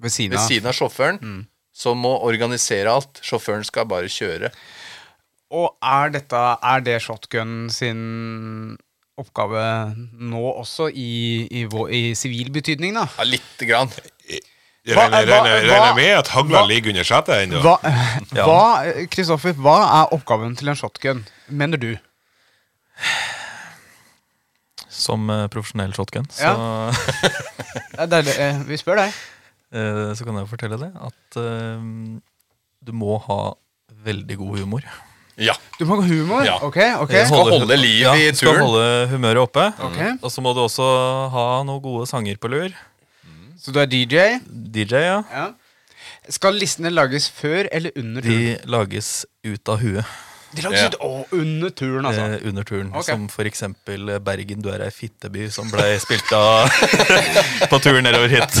Ved siden
ved
av.
siden av sjåføren,
Mm.
som må organisere alt. Sjåføren skal bare kjøre.
Og er, dette, er det shotgun sin oppgave nå også i, i, vår- i sivil betydning, da?
Ja, lite grann.
Jeg
Hva-
regner,
hva-
regner, regner
hva-
med at hagla
hva-
ligger under setet ennå.
Hva, hva, Kristoffer, hva er oppgaven til en shotgun, mener du?
Som eh, profesjonell shotgun, så,
Det er det, eh, vi spør deg.
eh, så kan jeg fortelle det at eh, du må ha veldig god humor.
Ja.
Du må ha humor.
Ja.
Ok, ok.
Jeg skal holde liv
ja,
i
Skal
turen.
holde humøret oppe.
Ok.
Og så må du også ha noen gode sanger på lur.
Så du er DJ?
DJ, ja.
Ja. Skal listene lages før eller under turen?
De lages ut av huet
De lages
Ja.
ut å, under turen, altså.
eh, under turen.
Ok.
Som for eksempel eh, Bergen, du er ei fitteby, som ble spilt av på turen nedover hit.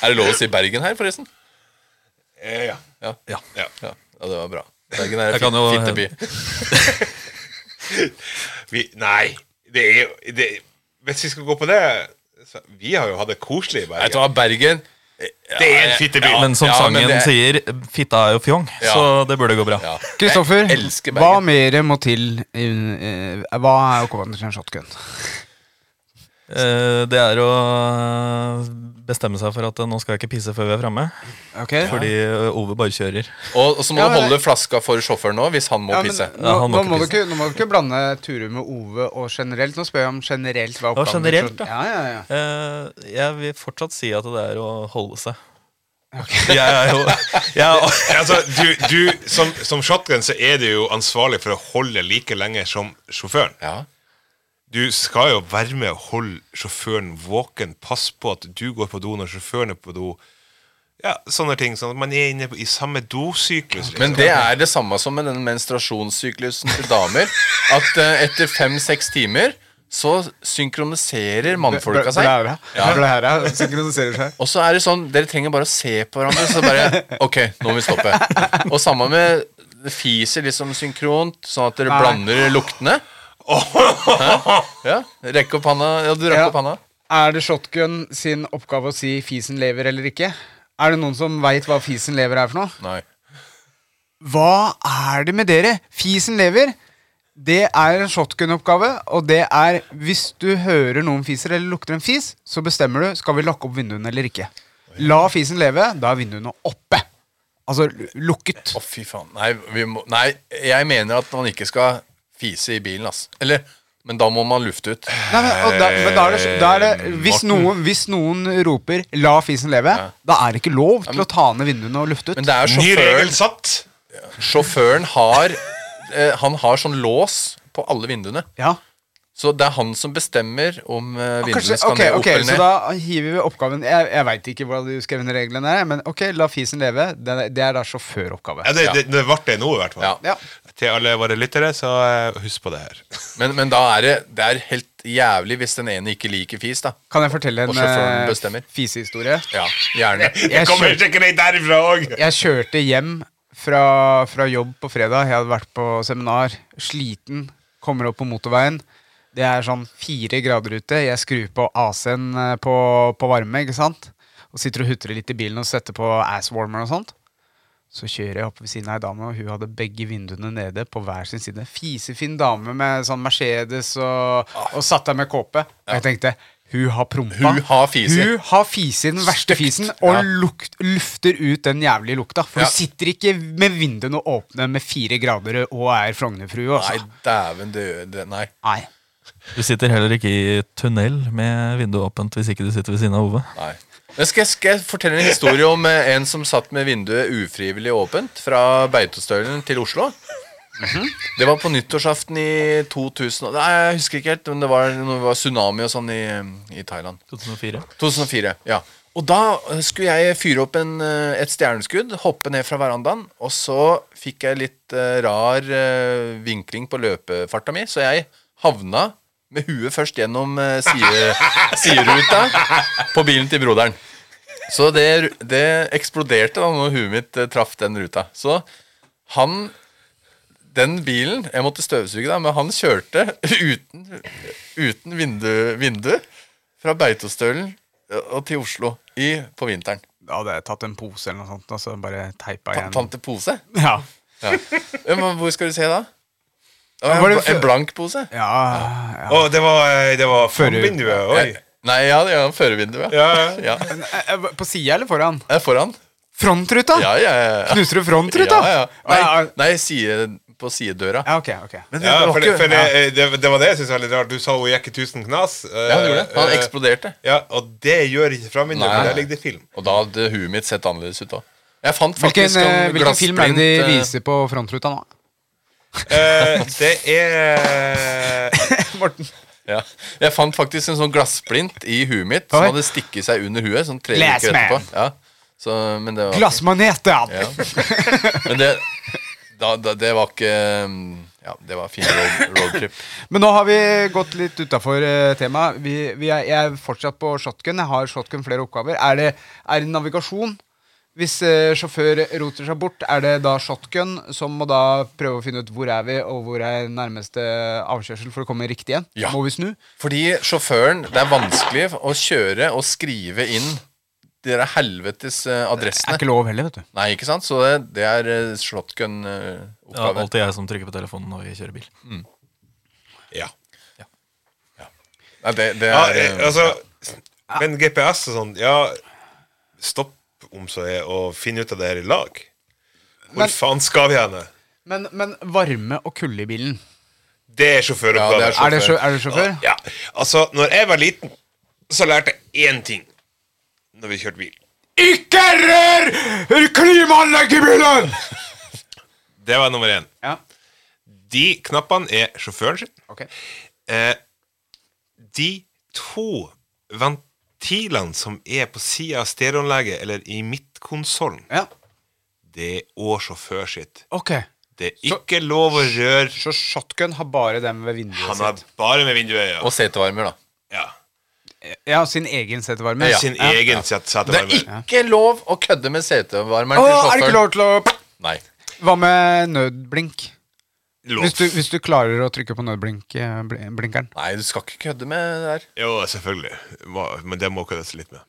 Er det lov å si Bergen her, forresten?
Eh, Ja.
Ja.
Ja.
Ja, ja det var bra. Bergen er
Jeg kan
en
jo-
fitteby.
Vi, nei, det er jo det, Hvis vi skal gå på det så, Vi har jo hatt det koselig i
Vet du
Bergen.
hva, Bergen
Det er en fitteby.
Men som
Ja, men
sangen
det-
sier, fitta er jo fjong,
Ja.
så det burde gå bra.
ja.
Kristoffer,
Jeg elsker
hva
Bergen.
mer må til eh, eh, Hva er oppgaven til en shotgun?
Eh, Det er å bestemme seg for at eh, nå skal jeg ikke pisse før vi er framme,
Ok?
fordi eh, Ove bare kjører.
Og, og så må
Ja,
du
men-
holde flaska for sjåføren nå, hvis han må
Ja, men,
pisse.
nå,
Ja, han
nå,
må
må du
ikke
ikke, nå må du ikke blande Turid med Ove og generelt. Nå spør jeg om generelt hva
Ja,
oppgaven til
generelt,
shot-
da.
Ja, ja, ja.
Eh, Jeg vil fortsatt si at det er å holde seg. Jeg er jo jeg er,
Altså, du, du, som, som shotgun så er du jo ansvarlig for å holde like lenge som sjåføren.
Ja.
Du skal jo være med å holde sjåføren våken, passe på at du går på do når sjåføren er på do. Ja, sånne ting. Sånn at man er inne på, i samme dosyklus. Liksom.
Men det er det samme som med den menstruasjonssyklusen til damer. At eh, etter fem-seks timer så synkroniserer mannfolka seg.
Blæra. Blæra synkroniserer seg.
Og så er det sånn, dere trenger bare å se på hverandre, så bare Ok, nå må vi stoppe. Og samme med det fiser liksom synkront, sånn at dere
Nei.
blander luktene. Hæ? Ja, Rekk opp handa. Ja, du rakk
Ja.
opp handa.
Er det shotgun sin oppgave å si fisen lever eller ikke? Er det noen som veit hva fisen lever er for noe?
Nei.
Hva er det med dere? Fisen lever. Det er en shotgun-oppgave, og det er hvis du hører noen fiser eller lukter en fis, så bestemmer du skal vi lakke opp vinduene eller ikke. La fisen leve, da er vinduene oppe. Altså l- lukket.
Å, fy faen. Nei, vi må, nei, jeg mener at man ikke skal fise i bilen, ass. Eller Men da må man lufte ut.
Nei, men, og da, men da er det, da er
Eh,
det hvis, noen, hvis noen roper 'la fisen leve', da er det ikke lov til å ta ned vinduene og lufte ut.
Men det er
Ny regel
sjåføren
satt!
Sjåføren har eh, Han har sånn lås på alle vinduene.
Ja.
Så det er han som bestemmer om eh, vinduene
Kanskje,
skal
ok,
ned opp
ok,
eller ned.
Så da hiver vi oppgaven Jeg, jeg veit ikke hvordan du skrev ned reglene, der, men ok, la fisen leve. Det, det er da sjåføroppgave.
Ja, det, det, det ble det nå, i hvert fall.
Ja.
Ja.
til alle våre lyttere, så eh, husk på det her.
Men, men da er det, det er helt jævlig hvis den ene ikke liker fis, da.
Kan jeg fortelle
Og
en
sjåføren
eh,
bestemmer.
fisehistorie?
Ja, gjerne.
Jeg, kjør,
sikkert derifra òg!
jeg kjørte hjem fra, fra jobb på fredag. Jeg hadde vært på seminar. Sliten. Kommer opp på motorveien. Det er sånn fire grader ute. Jeg skrur på AC-en eh, på, på varme. ikke sant? Og Sitter og hutrer litt i bilen og setter på asswarmer og sånt. Så kjører jeg opp ved siden av ei dame, og hun hadde begge vinduene nede på hver sin side. Fisefin dame med sånn Mercedes og, og satt der med kåpe. Og jeg tenkte hun har prompa.
Hun har fisi.
Hun har fisi, den verste
Stygt.
fisen, og
Ja.
lukt, lufter ut den jævlige lukta. For
Ja.
hun sitter ikke med vinduene åpne med fire grader og er Frognerfrue.
Nei,
Altså.
dæven døde Nei.
Nei.
Du sitter heller ikke i tunnel med vinduet åpent hvis ikke du sitter ved siden av Ove.
nei. Men skal, jeg, skal jeg fortelle en historie om eh, en som satt med vinduet ufrivillig åpent fra Beitostølen til Oslo? Det var på nyttårsaften i 2000 og- Nei, jeg husker ikke helt, men det var, når det var tsunami og sånn i, i Thailand.
2004.
2004, ja. Og da eh, skulle jeg fyre opp en, eh, et stjerneskudd, hoppe ned fra verandaen, og så fikk jeg litt eh, rar eh, vinkling på løpefarta mi, så jeg havna med huet først gjennom eh, side, sideruta på bilen til broderen. Så det, det eksploderte da når huet mitt eh, traff den ruta. Så han den bilen Jeg måtte støvsuge, da, men han kjørte uten, uten vindu, vindu fra Beitostølen eh, og til Oslo i, på vinteren.
Da hadde jeg tatt en pose eller noe sånt, og så bare teipa
Ta,
igjen.
tante Pose?
Ja.
Ja, men Hvor skal du se da? Å,
Var
En,
det før-
en blank pose?
Ja, ja.
Å, det var, eh, det var
Fører-
framvinduet. Oi.
Eh, Nei, ja, det er førervinduet.
Ja, ja.
Ja.
Men, eh, eh, På sida eller foran?
Det er foran.
Frontruta!
Ja, ja, ja.
Knuser du frontruta?
Ja, ja.
Ja,
Nei,
ja.
nei side, på sidedøra.
Ja, ok, ok.
Ja,
det var
for, det,
ikke-
for det, eh, det, det var det jeg syntes var litt rart. Du sa hun gikk i 1000 knas. eh,
Ja, han gjorde det. Han
eh,
eksploderte.
Ja, og det gjør ikke framvinduet,
Nei.
for der ligger det film.
Og da hadde huet mitt sett annerledes ut òg. Jeg fant
Hvilken,
faktisk
eh,
en
hvilken film er det
glassprint,
de
eh,
viser på frontruta nå?
Eh, det eh, er
Morten.
Ja. Jeg fant faktisk en sånn glassplint i huet mitt
Oi.
som hadde stikket seg under huet. Sånn tre uker
Glassman.
etterpå. Ja. Så, men det var,
Glassmanet, ja!
ja. Men det, da, da, det var ikke um, Ja, det var fin road, roadtrip.
Men nå har vi gått litt utafor temaet. Vi, vi er, jeg er fortsatt på shotgun. Jeg har shotgun flere oppgaver. Er det, er det navigasjon? Hvis eh, sjåfør roter seg bort, er det da shotgun som må da prøve å finne ut hvor er vi, og hvor er nærmeste avkjørsel for å komme riktig igjen?
Ja.
Må vi snu?
Fordi sjåføren Det er vanskelig å kjøre og skrive inn de der helvetes eh,
Det er
adressene.
ikke lov heller, vet du.
Nei, ikke sant? Så det, det er eh,
Det er
shotgun-oppgave.
alltid jeg som trykker på telefonen når vi kjører bil.
Ja.
Nei, det, det
Ja,
er
eh,
eh,
altså Men GPS og sånn, ja Stopp om så er og finn ut av det her i lag. Hvor
Men-
faen skal vi henne?
Men, men varme og kulde i bilen,
Det er sjåføroppgave.
Ja, det
er det, sjø- er det sjåfør?
Ja, altså, når jeg var liten, så lærte jeg én ting når vi kjørte bil.
Ikke rør klimaanlegget i bilen!
Det var nummer én.
Ja,
De knappene er sjåføren sin.
ok.
Eh, de to ventilene som er på sida av stereoanlegget, eller i midtkonsollen,
Ja,
det er òg sjåfør sitt.
ok.
Det er ikke lov å røre
Så shotgun har bare dem ved vinduet
Han er
sitt?
bare med vinduet, ja.
Og setevarmer, da.
ja.
Ja, sin egen setevarme?
Sin egen set-
Det er
setevarme.
ikke lov å kødde med setevarmeren
Å, er
til
det ikke
sjåføren.
lov til å
Nei.
Hva med nødblink?
Lov.
Hvis du, hvis du klarer å trykke på nødblink eh, bl- blinkeren
Nei, du skal ikke kødde med det der.
Jo, selvfølgelig. Hva- Men det må køddes litt med.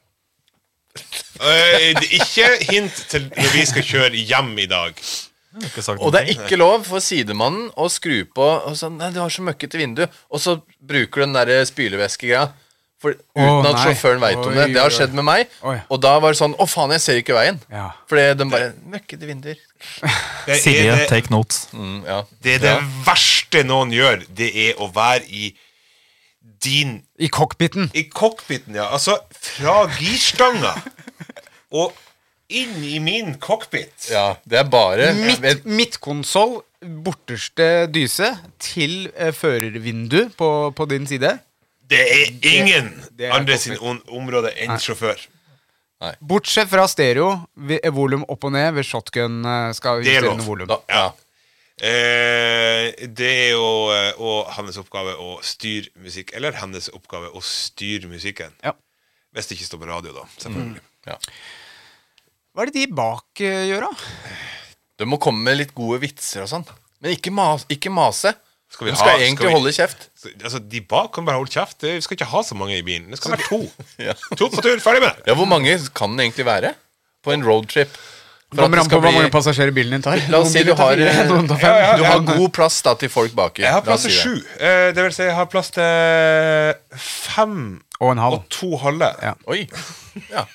Eh, det- ikke hint til når vi skal kjøre hjem i dag.
Jeg har ikke sagt
Og det er
noe.
ikke lov for sidemannen å skru på og sånn, Nei, du har så møkkete vindu. Og så bruker du den derre spyleveskegreia. For uten at
nei.
sjåføren veit om
Oi,
det. Det har
oi.
skjedd med meg.
Oi.
Og da var det sånn Å, faen, jeg ser ikke veien.
Ja.
Fordi de bare Møkkete vinduer.
Det
Silje,
er det,
take notes.
Mm, ja.
det, er det verste noen gjør. Det er å være i din
I cockpiten.
I cockpiten, ja. Altså fra girstanga og inn i min cockpit.
ja. Det er bare
Midt, midtkonsoll, borterste dyse, til eh, førervindu på, på din side.
Det er ingen
det er
andre
cockpit.
sin on område enn sjåfør.
Bortsett fra stereo, vi- eh, volum opp og ned ved shotgun eh, skal
Det er
justere
lov.
volum.
da, ja.
Eh, det er jo eh, og hans oppgave å styre musikk. Eller hennes oppgave å styre musikken.
Ja. Mm.
Hvis det ikke står på radio, da. Selvfølgelig.
Ja.
Hva er det de bak eh, gjør, da?
Du må komme med litt gode vitser og sånn. Men ikke, mas, ikke mase.
Skal vi
du
ha-
skal
skal
egentlig
vi-
holde kjeft.
Så, altså, De bak kan bare holde kjeft. Det- Vi skal ikke ha så mange i bilen. Det skal være to.
Ja.
To på tur, ferdig med det!
Ja, Hvor mange kan den egentlig være på en roadtrip? For at
Kommer
det
an på
skal
hvor mange
bli
passasjerer bilen din tar.
La oss
Noen
si du
biler tar
har, eh,
fire, noen tar fem.
Ja, ja,
du har god plass da til folk baki.
Jeg har
La
plass
oss
til
si det.
sju. Eh, det vil si, jeg har plass til fem
Og en halv.
og to halve.
Ja.
Oi. Ja.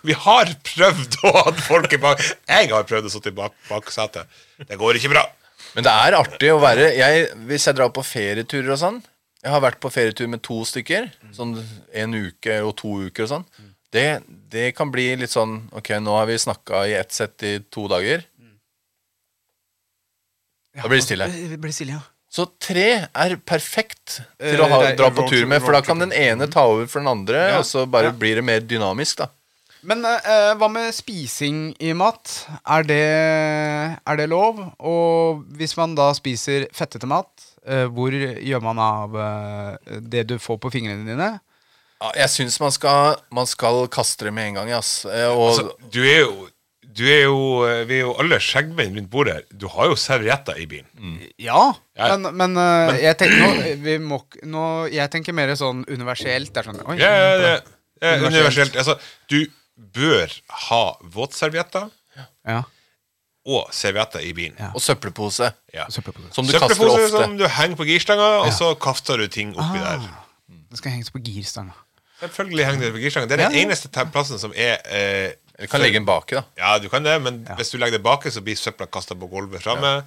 Vi har prøvd å ha folk i bak Jeg har prøvd å sitte i bak baksetet. Det går ikke bra.
Men det er artig å være jeg, Hvis jeg drar på ferieturer og sånn Jeg har vært på ferietur med to stykker. Sånn en uke og to uker og sånn. Det, det kan bli litt sånn Ok, nå har vi snakka i ett sett i to dager. Da blir det stille.
Det blir stille, ja.
Så tre er perfekt til
Eh,
å ha,
det er-
dra på
road-
tur med, for da kan
roadtrip.
den ene ta over for den andre,
Ja,
og så bare
ja.
blir det mer dynamisk, da.
Men eh, hva med spising i mat? Er det, er det lov? Og hvis man da spiser fettete mat, eh, hvor gjør man av eh, det du får på fingrene dine?
Ja, Jeg syns man skal, man skal kaste det med en gang, ja, ass. Eh, Og
Altså, du er jo du er jo, eh, Vi er jo alle skjeggmenn rundt bordet her. Du har jo servietter i bilen.
Mm.
Ja,
Ja, ja.
men, men, eh, jeg tenker nå, vi må, ikke- nå Jeg tenker mer sånn universelt. Det er sånn, oi,
Ja, ja, ja,
Mm.
ja.
Universelt.
Universelt. Altså, du bør ha våtservietter
ja.
og servietter i bilen.
Ja.
og søppelpose.
Ja.
Søppelpose.
Som du kaster
Søppelpose
ofte.
som du henger på girstanga, og så kaster du ting
Ah.
oppi der.
Det skal henges på girstanga.
Selvfølgelig henger det på girstanga. Det er den
Ja, ja.
eneste te- plassen som er eh,
Du kan legge den baki, da.
Ja, du kan det, men hvis du legger det baki, så blir søpla kasta på gulvet framme.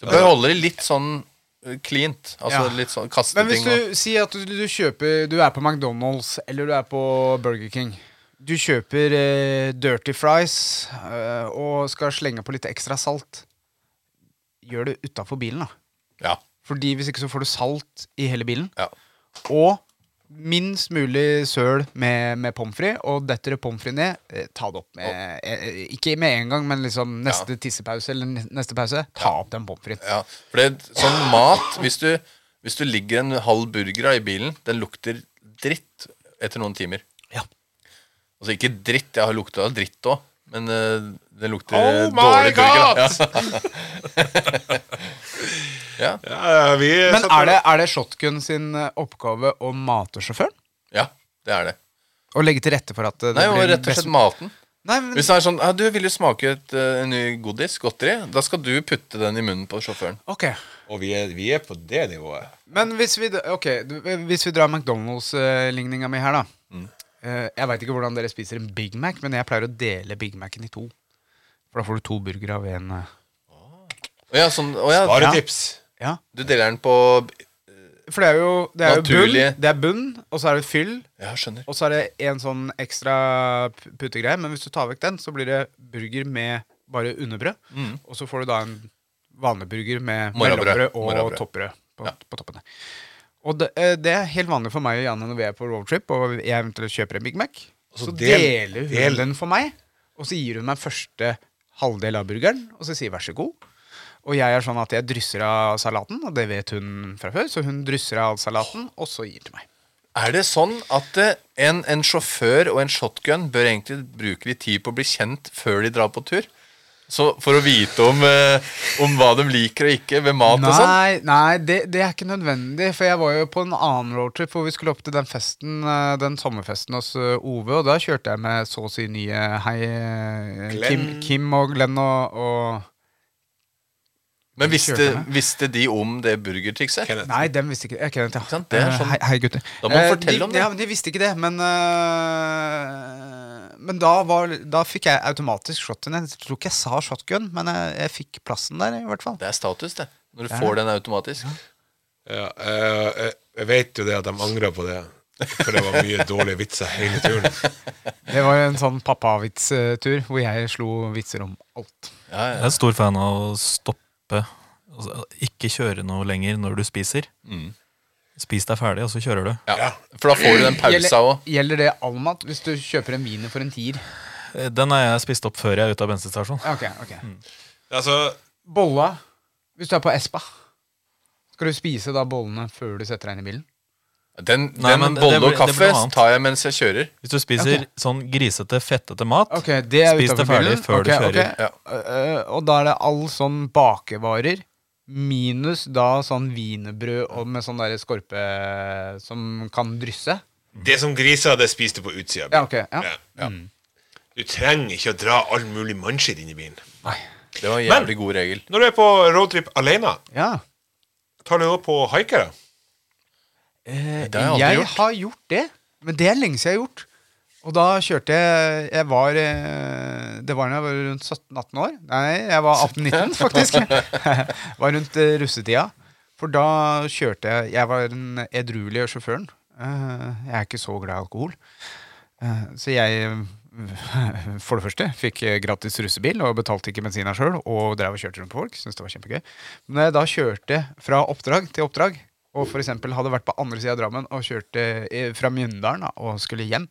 Du bør holde det litt sånn eh, cleant. Altså
Ja.
litt sånn kaste
Men hvis
ting og
du sier at du, du kjøper Du er på McDonald's eller du er på Burger King. Du kjøper eh, dirty fries eh, og skal slenge på litt ekstra salt. Gjør det utafor bilen, da.
Ja.
Fordi hvis ikke så får du salt i hele bilen.
ja.
Og minst mulig søl med, med pommes frites. Og detter det pommes frites ned, eh, ta det opp med eh, Ikke med en gang, men liksom neste tissepause eller ne- neste pause. Ta opp den pommes frites.
ja. For det sånn mat hvis du, hvis du ligger en halv burger da i bilen, den lukter dritt etter noen timer.
Ja.
Altså ikke dritt, jeg har lukta av dritt òg, men eh, det lukter
Oh my
dårlig burger. da.
God!
Ja. ja.
Ja, vi
Men
satt
er det,
der.
er det Shotgun sin eh, oppgave å mate sjåføren?
ja, det er det.
Å legge til rette for at eh, det
Nei, og
blir
rett og slett maten.
Nei, men,
Hvis det er sånn ja, 'Du vil jo smake et eh, en ny godis, godteri', da skal du putte den i munnen på sjåføren.
ok.
Og vi er, vi er på det nivået.
Men hvis vi, d- ok, du- hvis vi drar McDonald's-ligninga mi her, da. Eh, jeg veit ikke hvordan dere spiser en Big Mac, men jeg pleier å dele Big Mac-en i to. For da får du to burgere av en eh,
Å ja, sånn, å, ja,
Bare
Ja.
tips.
Ja.
du deler den på
For det er jo, det er jo bunn,
Naturlige.
det er bunn, og så er det fyll,
Ja, skjønner.
og så er det en sånn ekstra p- puttegreie. Men hvis du tar vekk den, så blir det burger med bare underbrød. Og så får du da en vanlig burger med
Morrabrød.
mellombrød og
Morrabrød.
toppbrød på,
Ja.
på toppene. Og det, eh, det er helt vanlig for meg og Janne når vi er på roadtrip og jeg eventuelt kjøper en Big Mac.
så
Så,
del-
deler hun
del-
den for meg, og så gir hun meg første halvdel av burgeren, og så sier vær så god. Og jeg er sånn at jeg drysser av salaten, og det vet hun fra før, så hun drysser av salaten, og så gir til meg.
Er det sånn at eh, en, en sjåfør og en shotgun bør egentlig bruke litt tid på å bli kjent før de drar på tur? Så For å vite om, eh, om hva de liker og ikke ved mat og sånn?
Nei, nei det, det er ikke nødvendig. For jeg var jo på en annen roadtrip hvor vi skulle opp til den festen eh, Den sommerfesten hos eh, Ove. Og da kjørte jeg med så å si nye Hei, eh, Kim,
Glenn.
Kim og Glenn og, og
Men visste,
Kjørte
visste de om det burgertrikset?
Kenneth.
Nei, dem visste ikke jeg kjenner til-
Ikke sant? Det er
Eh,
sånn-
Hei, hei, gutter.
Da må man
Eh,
fortelle
de,
om det.
Ja, men De visste ikke det, men eh, Men da, var, da fikk jeg automatisk shotgun. Jeg tror ikke jeg sa shotgun, men jeg, jeg fikk plassen der, i hvert fall.
Det er status, det. Når du får den automatisk.
Ja, eh, eh, jeg vet jo det at de angrer på det. For det var mye dårlige vitser hele turen.
Det var jo en sånn pappavits-tur hvor jeg slo vitser om alt.
Ja,
Jeg
ja.
er stor fan av å stoppe. Altså, ikke kjøre noe lenger når du spiser. Spis deg ferdig, og så kjører du.
Ja. For da får du den pausa
Gjelder,
òg.
gjelder det all mat hvis du kjøper en wiener for en tier?
Eh, Den har jeg spist opp før jeg er ute av bensinstasjon.
Ok, ok
Altså,
Bolla Hvis du er på Espa, skal du spise da bollene før du setter deg inn i bilen?
Den,
Nei,
den
men det- det
bolle
blir-
og
det
kaffe
blir noe annet.
tar jeg mens jeg kjører.
Hvis du spiser
Ok.
sånn grisete, fettete mat
Ok, det er
Spis det
utenfor
ferdig
bilen.
før du
Ok,
kjører.
ok. Eh, og da er det all sånn bakevarer, minus da sånn wienerbrød og med sånn der skorpe som kan drysse.
Det som griser, det spiser du på utsida. av
Ja,
bilen.
ok. Ja.
Ja. Du trenger ikke å dra all mulig mannskitt inn i bilen.
Det var en jævlig god regel.
Når du er på roadtrip alene,
ja.
tar du da på haikere?
Eh,
Det har jeg aldri
jeg
gjort.
har gjort det, men det er lenge siden jeg har gjort. Og da kjørte jeg Jeg var eh, Det var da jeg var rundt 17-18 år. Nei, jeg var 18-19, faktisk. var rundt eh, russetida. For da kjørte jeg Jeg var den edruelige sjåføren. Eh, Jeg er ikke så glad i alkohol. Eh, Så jeg for det første fikk eh, gratis russebil og betalte ikke bensina sjøl. Og drev og kjørte rundt på folk. Syntes det var kjempegøy. Men når jeg da kjørte fra oppdrag til oppdrag, og for eksempel hadde vært på andre sida av Drammen og kjørte eh, fra Mjøndalen da, og skulle hjem,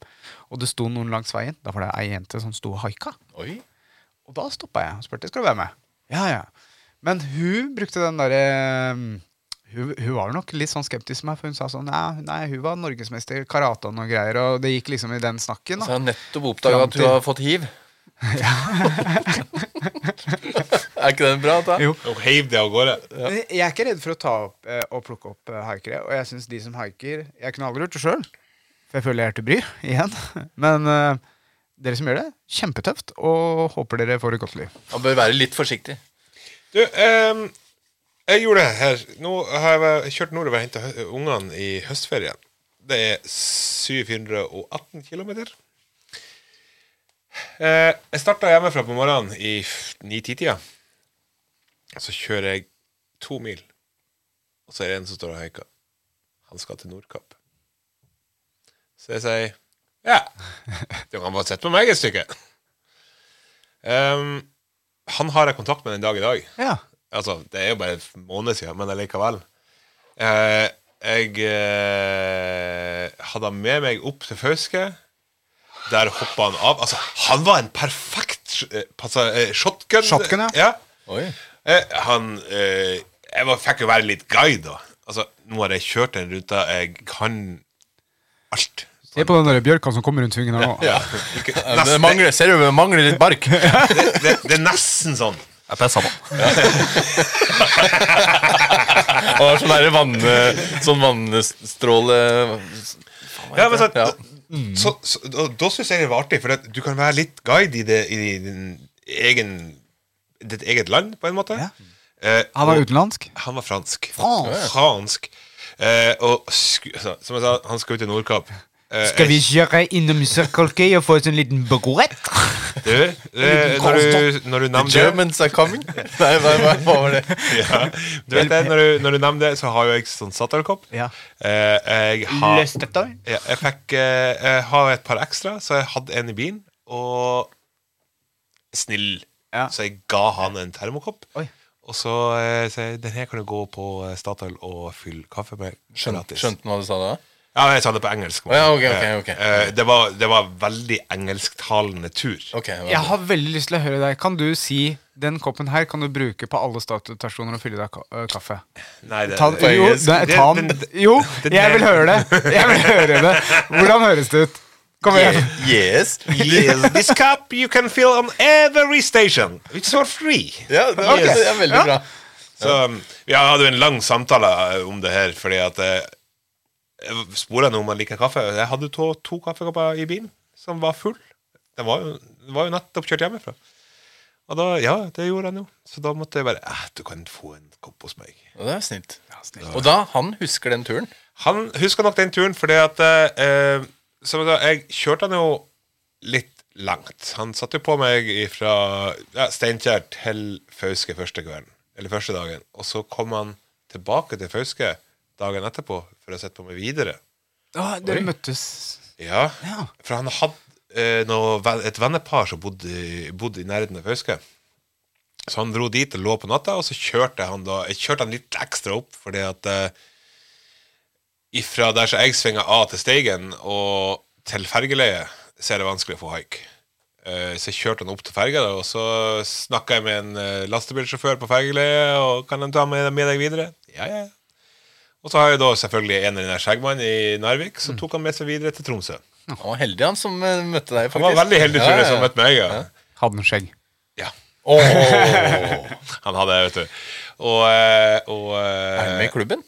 og det sto noen langs veien, da var det ei jente som sto og haika.
Oi.
Og da stoppa jeg og spurte skal du være med. Ja, ja. Men hun brukte den derre um, hun, hun var nok litt sånn skeptisk med meg, for hun sa sånn Nei, nei hun var norgesmester i karate og noen greier, og det gikk liksom i den snakken.
Så jeg
Da.
har nettopp oppdaga at du har fått hiv. er ikke den bra? da?
Jo.
Og heiv det av gårde?
Men Jeg er ikke redd for å ta opp eh, og plukke opp eh, haikere, og jeg syns de som haiker Jeg kunne aldri gjort det sjøl, for jeg føler jeg er til bry igjen. Men eh, dere som gjør det, kjempetøft, og håper dere får et godt liv.
Man bør være litt forsiktig.
Du, ehm, jeg gjorde det her. Nå har jeg vært- kjørt nordover og henta ungene i høstferien. Det er 718 km. Eh, jeg starta hjemmefra på morgenen i f- 9-10-tida. Så kjører jeg to mil, og så er det en som står og haiker. Han skal til Nordkapp. Så jeg sier ja. Du kan bare sette på meg et stykke. Ehm, han har jeg kontakt med den dag i dag.
Ja.
Altså, det er jo bare en måned siden, men allikevel. Eh, jeg eh, hadde han med meg opp til Fauske. Der hoppa han av. Altså, han var en perfekt eh, passa, eh, shotgun.
Shotgun, ja.
Oi.
Eh, han eh, Jeg var, fikk jo være litt guide, da. Altså, nå har jeg kjørt den ruta. Jeg kan alt.
Se på den der bjørka som kommer rundt svingen her nå.
Ja. Ikke-
Det
Nesten, det,
mangler, ser du, det mangler litt bark.
det, det er nesten sånn.
Ja, for det er samme.
Og har sånn derre vann, sånn vannstråle
Ja, men så,
Ja.
så, så, da, da syns jeg det var artig, for at du kan være litt guide i, det, i din egen, ditt eget land, på en måte.
Ja.
Eh,
Han var
og-
utenlandsk.
han var fransk.
Fransk.
Fransk. Eh, og sku, så, som jeg sa, han skal ut til Nordkapp. Eh,
Skal vi kjøre innom Circle K og få oss en liten baguett?
jeg- Du, eh, når du, når du nevner det
Germans are coming. Nei, hva, hva, hva var det?
ja, Du vet det, når du, når du nevner det, så har jo jeg sånn Statoil-kopp.
Ja.
Eh, jeg har
Løstetter.
Ja, jeg fikk eh, Jeg har et par ekstra, så jeg hadde en i bilen. Og snill.
Ja.
Så jeg ga han en termokopp.
Oi.
Og så eh, sa jeg den her kan du gå på eh, Statoil og fylle kaffe med.
Skjønte,
gratis."
skjønte du hva du sa da?
Ja, jeg sa det på engelsk.
Å, ja, ok, ok,
Eh,
ok.
eh, Det, var, det var veldig engelsktalende tur.
Ok, det var
Jeg
bra.
har veldig lyst til å høre deg. Kan du si den koppen her kan du bruke på alle statustasjoner og fylle deg ka øh, kaffe?
Nei, det,
Ta,
det-
jo,
engelsk.
nei, ta
Det-
den.
det-
Jo,
det-
jeg vil høre det. Jeg vil høre det. Hvordan høres det ut? Kom igjen.
Yes.
Yes, this cup you can fill on every station. It's for free.
Ja, det var,
Ok.
det er veldig
Ja.
bra.
Så um, vi hadde jo en lang samtale eh, om det her, fordi at eh, jeg spurte han om han liker kaffe. Jeg hadde jo to, to kaffekopper i bilen som var full. Den var jo, den var jo nettopp kjørt hjemmefra. Og da, ja, det gjorde han jo. Så da måtte jeg bare eh, Du kan få en kopp hos meg.
Og det er snilt. Og da, han husker den turen.
Han husker nok den turen, fordi at eh, som jeg, sa, jeg kjørte han jo litt langt. Han satte jo på meg fra ja, Steinkjer til Fauske første kvelden, eller første dagen. Og så kom han tilbake til Fauske dagen etterpå for å sette på meg videre.
Ah, dere møttes
Ja,
Ja.
For han hadde eh, noe, ven- et vennepar som bodde, bodde i nærheten av Fauske. Så han dro dit og lå på natta, og så kjørte han da Jeg kjørte han litt ekstra opp, fordi at eh, ifra der som jeg svinger av til Steigen og til fergeleiet, så er det vanskelig å få haik. Eh, Eh, Så jeg kjørte han opp til ferga, da, og så snakka jeg med en eh, lastebilsjåfør på fergeleiet. Og 'Kan de ta med, med deg videre?' Ja, ja. Og så har jeg da selvfølgelig en eller annen skjeggmann i Narvik, som tok han med seg videre til Tromsø.
Han var heldig, han som eh, møtte deg, faktisk.
Han var veldig heldig, tror jeg,
liksom,
som møtte meg. Ja.
Hadde en skjegg.
Ja. han hadde det, vet du. Og, eh, og eh,
Er han med i klubben?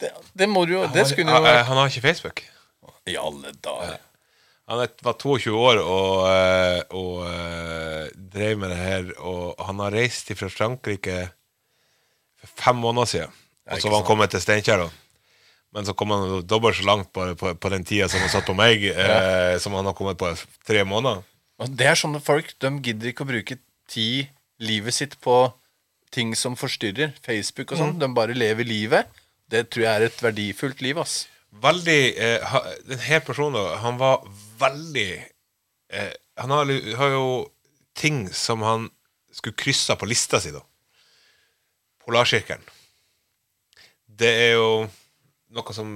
Det, det må du jo Det skulle jo
han,
vært
han har ikke Facebook.
I alle dager.
Han er, var 22 år og, eh, og eh, drev med det her. Og han har reist fra Frankrike for fem måneder siden. Og så var han kommet til Steinkjer. da. Men så kom han jo dobbelt så langt på, på, på den tida som han satt på meg, eh, som han har kommet på tre måneder.
Og det er sånne folk, de gidder ikke å bruke tid, livet sitt på ting som forstyrrer. Facebook og sånn. De bare lever livet. Det tror jeg er et verdifullt liv, ass.
veldig eh, ha- Den her personen, da, han var veldig eh, Han har, li- har jo ting som han skulle kryssa på lista si, da. Polarsirkelen. Det er jo noe som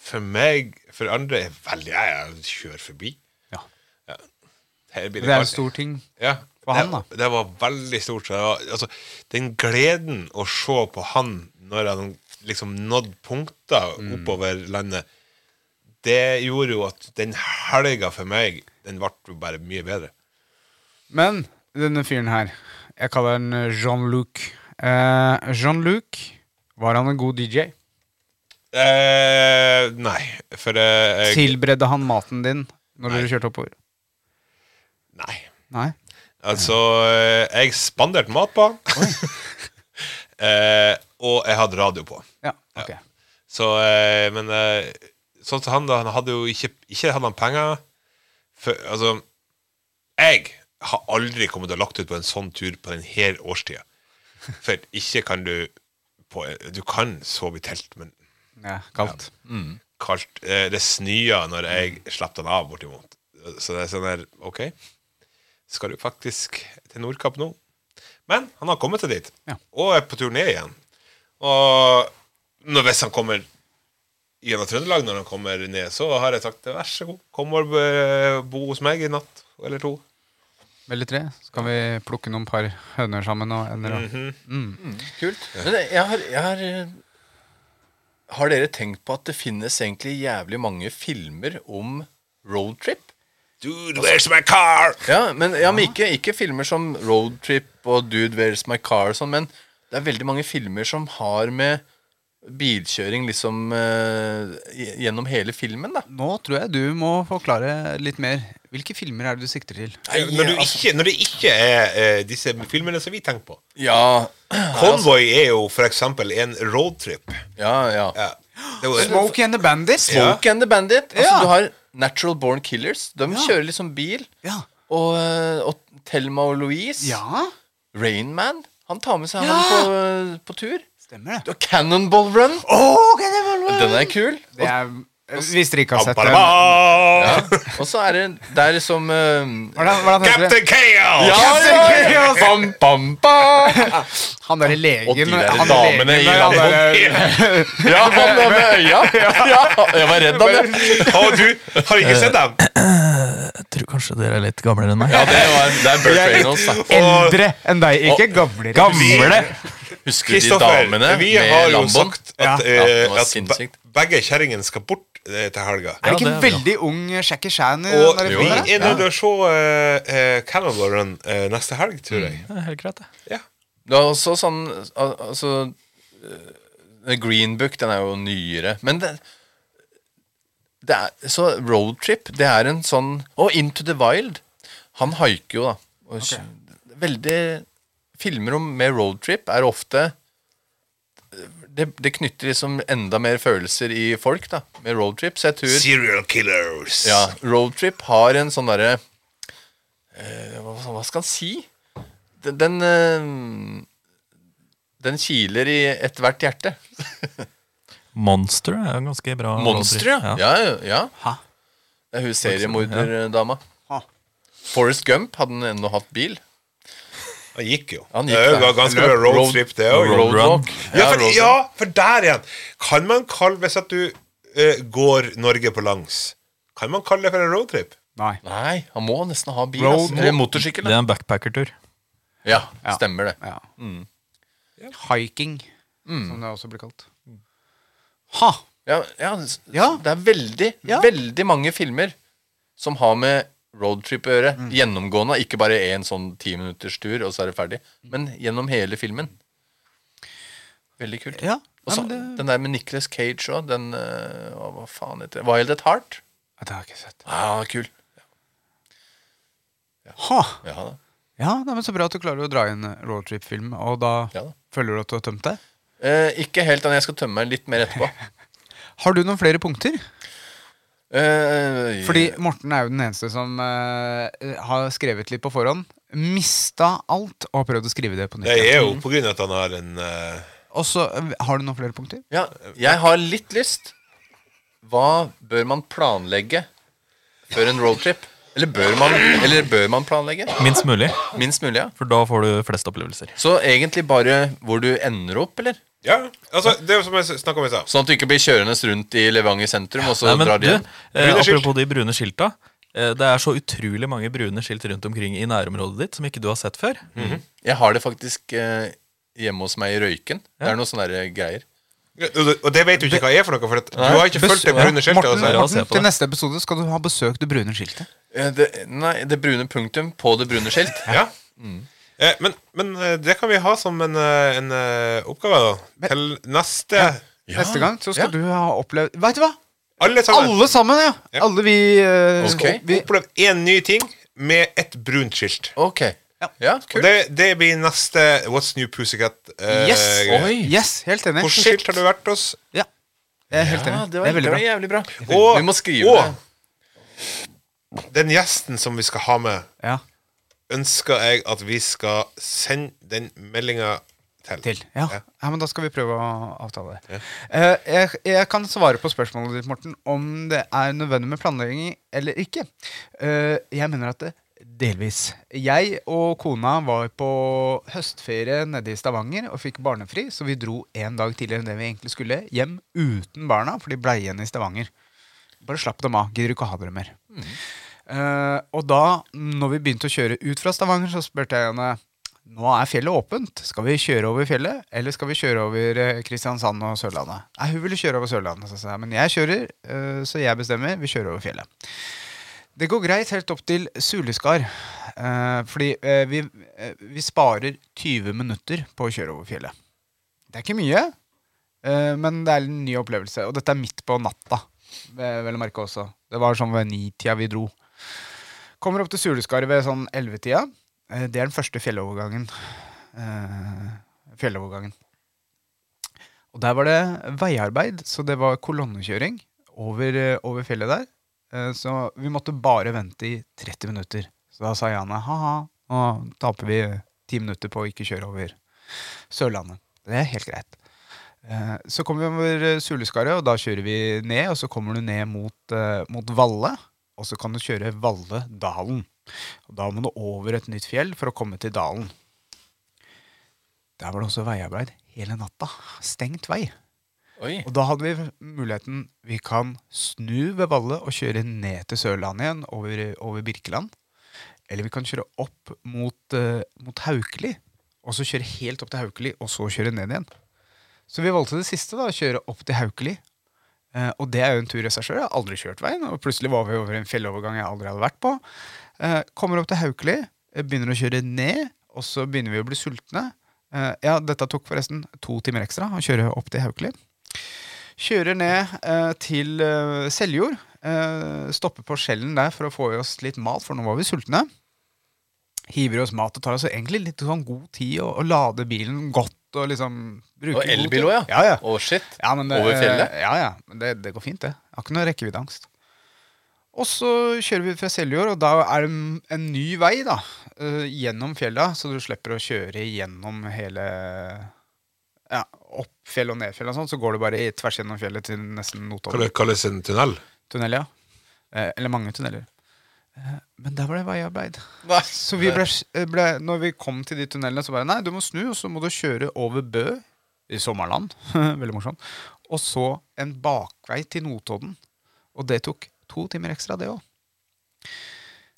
for meg, for andre, er veldig Jeg, jeg kjører forbi.
Ja.
Her blir
Det er en
kaldt.
stor ting.
Ja,
For han,
det, det var veldig stort. så Det var, altså, den gleden å se på han når han liksom nådde punkter
Mm.
oppover landet, det gjorde jo at den helga for meg, den ble jo bare mye bedre.
Men denne fyren her, jeg kaller han eh, Jean-Luc. Eh, Jean-Luc, var han en god DJ?
Eh, nei, for eh, jeg,
Tilberedte han maten din når dere kjørte oppover?
Nei.
Nei?
Altså, eh, jeg spanderte mat på han. eh, og jeg hadde radio på.
Ja, ok.
Så, eh, men eh, sånn som han da, han hadde jo ikke, ikke hadde han penger for, Altså, jeg har aldri kommet til å lagt ut på en sånn tur på denne årstida. For ikke kan du på, Du kan sove i telt, men
Ja, Mm. kaldt.
kaldt eh, Det snør når jeg slapp den av, bortimot. Så det er sånn der OK, skal du faktisk til Nordkapp nå? Men han har kommet til dit,
Ja.
og er på tur ned igjen. Og når, hvis han kommer gjennom Trøndelag, når han kommer ned, så har jeg sagt vær så god, kom og eh, bo hos meg i natt eller to.
Eller tre. Så kan vi plukke noen par høner sammen og ender og
Mhm. Kult. Men det- jeg har, jeg har eh, Har dere tenkt på at det finnes egentlig jævlig mange filmer om roadtrip?
Dude, where's my car?
Ja, men, ja, men ikke, ikke filmer som Roadtrip og Dude, Where's My Car og sånn, men det er veldig mange filmer som har med bilkjøring liksom eh, gj- gjennom hele filmen, da.
Nå tror jeg du må forklare litt mer. Hvilke filmer er det du sikter til?
Når, du
altså.
ikke, når det ikke er eh, disse filmene som vi tenker på.
Ja,
altså.
Convoy er jo for eksempel en roadtrip.
ja, ja.
Ja. Det var-
Smokey and the Bandits?
Smoke and the Bandit. Altså,
Ja.
Du har Natural Born Killers. De kjører liksom bil.
Ja.
Og, eh, og Thelma og Louise.
Ja,
Rainman. Han tar med seg
Ja.
han på, på tur.
stemmer
Du
det.
har Cannonball Run. Den er kul.
Det er, hvis dere ikke har sett den. Hva
Ba-ba-ba!
Ja. Og så er det der som eh,
er det- hva er det han heter?
Captain Chaos!
Ja, ja, ja. Bam, bam, bam.
Han derre legen
Og de der
han
damene i
legen- han
Lambo.
der-
Ja, han der med øya. Ja, jeg var redd han, ja.
Å, du har ikke sett dem?
Jeg tror kanskje dere er litt gamlere enn meg.
ja det, var, det er Burt Reynolds, da.
Eldre enn deg, ikke gamlere. Gamle!
Husker du de
Kristoffer,
damene
vi har
med
jo
Lambon?
sagt at,
Ja.
eh,
Ja, det var
at
sinnssykt.
be- begge kjerringene skal bort eh, til helga.
Er det
Ja,
ikke en
det er det,
veldig ung Shacky Shan eh, i den
Og
der
vi
filmen? der?
er nødt til å se eh, eh, Cannibal Run eh, neste helg, tror jeg.
Mm.
Det er helt greit, det.
Ja.
Det er også sånn al- Altså eh, Green Book, den er jo nyere. Men det, det er Så Roadtrip, det er en sånn Og Into the Wild. Han haiker jo, da. Og, Veldig Filmer om med roadtrip er ofte eh, det, det knytter liksom enda mer følelser i folk da med roadtrip. Så jeg tror
Serial Killers.
ja, Roadtrip har en sånn derre eh, hva, hva skal en si? Den den, eh, den kiler i ethvert hjerte.
Monster er jo en ganske bra
Monstre, ja.
roadtrip.
ja. ja.
Hæ?
Det er hun seriemorderdama.
Ha.
Forrest Gump hadde han ennå hatt bil.
Han gikk jo. Eh,
Han gikk,
det er
ja.
jo ganske
Løp,
bra
road-
roadtrip, det òg.
Road run.
Roadwalk.
Ja, for,
road-
ja, for der igjen! Kan man kalle Hvis at du eh, går Norge på langs, kan man kalle det for en roadtrip?
Nei.
Nei, han må nesten ha bil.
Road
ass. Eller motorsykkel.
Det
Da.
er en backpackertur.
Ja,
Ja.
stemmer det.
Ja. Hiking, som det også blir kalt. Ha!
Ja, ja, s-
Ja.
Det er veldig,
Ja.
veldig mange filmer som har med roadtrip å gjøre.
Mm.
Gjennomgående. Ikke bare én sånn ti minutters tur, og så er det ferdig. Men gjennom hele filmen. Veldig kult.
Ja,
Og så
nei, men det-
den der med Nicolas Cage òg. Den eh, hva- Hva faen heter det? Wild at Heart?
Ja, Det har jeg ikke sett.
Ja, kul.
Ha!
Ja da.
Ja, nei, men Så bra at du klarer å dra inn roadtrip-film, og da
Ja da.
føler du at du har tømt deg.
Eh, ikke helt, men jeg skal tømme meg litt mer etterpå.
Har du noen flere punkter?
Eh,
Fordi Morten er jo den eneste som eh, har skrevet litt på forhånd. Mista alt og har prøvd å skrive det på nytt.
Det er jo på grunn av at han har en eh,
Og så eh, Har du noen flere punkter?
Ja, jeg har litt lyst. Hva bør man planlegge før en roadtrip? Eller bør man, eller bør man planlegge?
Minst mulig,
Minst mulig, ja.
for da får du flest opplevelser.
Så egentlig bare hvor du ender opp, eller?
Ja, altså, det er jo som jeg snakka om i stad.
Sånn at du ikke blir kjørende rundt i Levanger sentrum, og så
Nei, men
drar
du,
de hjem.
eh,
Brune skilt.
apropos de brune skilta. Eh, det er så utrolig mange brune skilt rundt omkring i nærområdet ditt som ikke du har sett før.
Jeg har det faktisk eh, hjemme hos meg i Røyken. Det er noen sånne der greier.
Og og det vet du ikke hva er for noe, for at du har ikke fulgt det
Bes-
brune skiltet.
Morten,
altså.
Altså.
Ja, se
Morten
på
til
det.
neste episode skal du ha besøkt det brune skiltet.
Eh, det, nei, det brune punktum på det brune skilt.
Ja. Eh, men, men eh, det kan vi ha som en, eh, en eh, oppgave, da. Til neste
Ja.
Neste gang så
Ja.
skal du ha opplevd Vet du hva?
Alle sammen.
Alle sammen, ja!
Ja.
Alle vi, eh,
Ok.
vi
Opplev én ny ting med et brunt skilt.
Ok.
Ja.
Ja,
Og
kult.
det, det blir neste What's New Pussycat. eh,
Yes!
greie.
Oi.
yes! Helt enig.
Hvilket skilt har du vært hos?
Ja. Jeg er helt
Ja,
enig.
det
Det,
var,
er veldig bra.
jævlig bra.
Og-
Vi må skrive
og-
det.
Den gjesten som vi skal ha med,
Ja,
ønsker jeg at vi skal sende den meldinga til.
til. Ja. ja. men da skal vi prøve å avtale det. Eh, jeg, jeg kan svare på spørsmålet ditt, Morten, om det er nødvendig med planlegging eller ikke. Eh, jeg mener at det delvis. Jeg og kona var på høstferie nede i Stavanger og fikk barnefri, så vi dro en dag tidligere enn det vi egentlig skulle, hjem uten barna, for de ble igjen i Stavanger. Bare slapp dem av. Gidder ikke å ha dere mer. Eh, og da, når vi begynte å kjøre ut fra Stavanger, så spurte jeg henne Nå er fjellet åpent. Skal vi kjøre over fjellet, eller skal vi kjøre over eh, Kristiansand og Sørlandet? Nei, hun ville kjøre over Sørlandet, så sa jeg. Men jeg kjører, eh, så jeg bestemmer. Vi kjører over fjellet. Det går greit helt opp til Suleskar. eh, fordi eh, vi, eh, vi sparer 20 minutter på å kjøre over fjellet. Det er ikke mye, eh, men det er en ny opplevelse. Og dette er midt på natta, eh, vel å merke også. Det var sånn ved ni-tida vi dro. Kommer opp til Suleskarvet ved sånn 11-tida. Eh, Det er den første fjellovergangen. Eh, fjellovergangen. Og der var det veiarbeid, så det var kolonnekjøring over, eh, over fjellet der. Eh, Så vi måtte bare vente i 30 minutter. Så da sa Jane ha-ha, nå taper vi 10 minutter på å ikke kjøre over Sørlandet. Det er helt greit. Eh, Så kommer vi over eh, Suleskaret, og da kjører vi ned. Og så kommer du ned mot, eh, mot Valle, og så kan du kjøre Valle-Dalen. Og da må du over et nytt fjell for å komme til dalen. Der var det også veiarbeid hele natta. Stengt vei.
Oi.
Og da hadde vi muligheten Vi kan snu ved Valle og kjøre ned til Sørlandet igjen, over, over Birkeland. Eller vi kan kjøre opp mot, eh, mot Haukeli, og så kjøre helt opp til Haukeli, og så kjøre ned igjen. Så vi valgte det siste, da, å kjøre opp til Haukeli. Eh, og det er jo en tur i seg sjøl. Jeg har aldri kjørt veien. Og plutselig var vi over en fjellovergang jeg aldri hadde vært på. Eh, kommer opp til Haukeli, eh, begynner å kjøre ned, og så begynner vi å bli sultne. Eh, ja, dette tok forresten to timer ekstra å kjøre opp til Haukeli. Kjører ned eh, til eh, Seljord. Eh, stopper på Skjellen der for å få i oss litt mat, for nå var vi sultne. Hiver i oss mat og tar oss egentlig litt sånn god tid å å lade bilen godt og liksom bruke
Og
god
elbil
tid.
òg, ja.
ja, ja.
Å, shit.
Ja, men det, eh,
Over fjellet?
Ja, ja. Men det, det går fint, det. Jeg har ikke noe rekkeviddeangst. Og så kjører vi fra Seljord, og da er det m- en ny vei da, eh, gjennom fjella, så du slipper å kjøre gjennom hele ja, opp fjell og ned fjell og sånn, så går du bare i- tvers gjennom fjellet til nesten Notodden.
kalles en tunnel?
Tunnel, ja. Eh, eller mange tunneler. Eh, men der var det veiarbeid.
Nei.
Så vi ble, eh, ble, når vi kom til de tunnelene, så bare Nei, du må snu, og så må du kjøre over Bø i sommerland. Veldig morsomt. Og så en bakvei til Notodden. Og det tok to timer ekstra, det òg.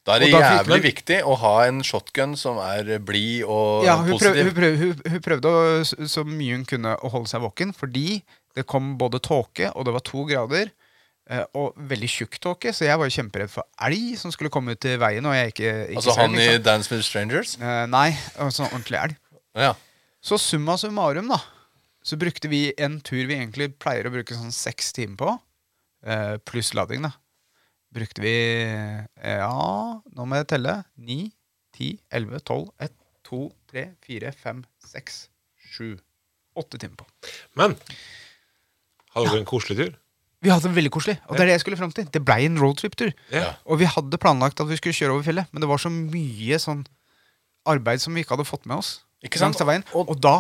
Da er det
Og da fikk
jævlig
vel-
viktig å ha en shotgun som er eh, blid og
Ja, hun, prøv,
positiv.
hun, prøv, hun, hun prøvde å, s- så mye hun kunne å holde seg våken, fordi det kom både tåke, og det var to grader, eh, og veldig tjukk tåke, så jeg var jo kjemperedd for elg som skulle komme ut i veien, og jeg ikke, ikke
altså
ser
han
den,
i
ikke sant?
Dance with Strangers.
Eh, Nei, altså ordentlig elg.
Ja.
Så summa summarum, da, så brukte vi en tur vi egentlig pleier å bruke sånn seks timer på, eh, pluss lading, da. Brukte vi eh, Ja, nå må jeg telle. Ni, ti, elleve, tolv, ett, to, tre, fire, fem, seks, sju. Åtte timer på.
Men hadde dere en koselig tur?
Vi hadde det veldig koselig. og Det er det jeg skulle frem til. Det blei en roadtrip-tur.
Ja.
Og vi hadde planlagt at vi skulle kjøre over fjellet, men det var så mye sånn arbeid som vi ikke hadde fått med oss.
Ikke sant?
Langs av veien.
Og-
og da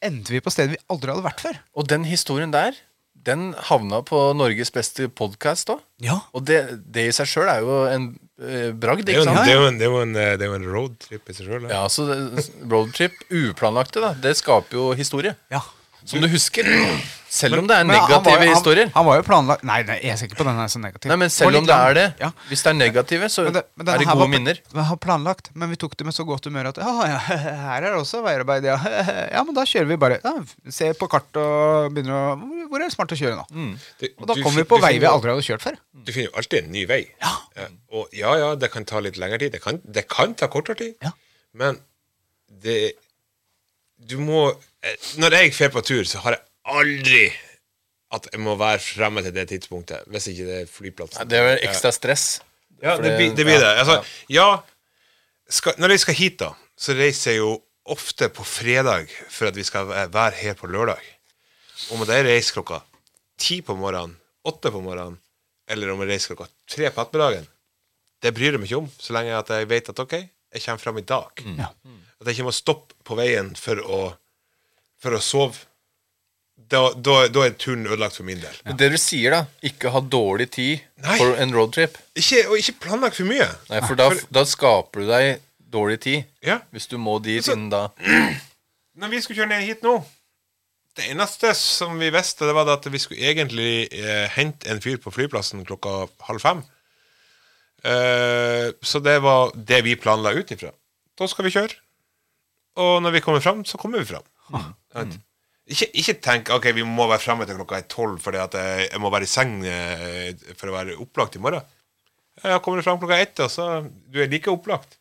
endte vi på stedet vi aldri hadde vært før.
Og den historien der, den havna på Norges beste podkast òg.
Ja.
Og det, det i seg sjøl er jo en eh, bragd,
Det er jo
ikke
en,
sant?
det er jo en, det er jo en, eh, det er jo en roadtrip i seg sjøl.
Ja, så det- roadtrip, uplanlagte, da. Det skaper jo historie. Som du husker. Selv om det er
Men han var jo-
negative
han,
historier.
Han var jo planlagt Nei, nei jeg ser ikke på den her som negativ.
Nei, men selv
litt
om det
lang.
er det,
Ja.
hvis det er negative, så
Men det- men denne
er det
her
gode
var-
minner.
Vi har planlagt, men vi tok det med så godt humør at «Ah, ja, her er det også veiarbeid, ja. ja, men da kjører vi bare. Ja, se på kart og begynner å hvor- Hvor er det smart å kjøre nå?
Mm.
Og da kommer vi på vei vi aldri hadde kjørt før.
Du finner jo alltid en ny vei. Ja. Og ja, ja, det kan ta litt lengre tid. Det kan, det kan ta kortere tid.
Ja.
Men det Du må eh, Når jeg drar på tur, så har jeg aldri at jeg må være fremme til det tidspunktet. Hvis ikke det er flyplassen.
Det er vel ekstra stress.
Ja,
For
det,
det-
blir- det blir det.
ja,
Altså, ja, skal, når jeg skal hit, da, så reiser jeg jo ofte på fredag for at vi skal væ- være her på lørdag. Om jeg reiser klokka ti på morgenen, åtte på morgenen, eller om jeg reiser klokka tre på ettermiddagen, det bryr jeg meg ikke om, så lenge at jeg vet at ok, jeg kommer fram i dag.
Mm.
Ja.
At jeg ikke må stoppe på veien for å, for å sove. Da, da, da er turen ødelagt for min del.
Men Det du sier, da. Ikke ha dårlig tid
Nei.
for en roadtrip.
Ikke, og ikke planlegg for mye.
Nei, for da, da skaper du deg dårlig tid.
Ja.
Hvis du må dit
Altså-
innen da.
Når vi skulle kjøre ned hit nå Det eneste som vi visste, det var det at vi skulle egentlig eh, hente en fyr på flyplassen klokka halv fem. Eh, så det var det vi planla ut ifra. Da skal vi kjøre. Og når vi kommer fram, så kommer vi fram. Sant? Ikke, ikke tenk ok, vi må være fremme til klokka er tolv fordi at jeg, jeg må være i seng eh, for å være opplagt i morgen. Ja, kommer du fram klokka ett, og så Du er like opplagt.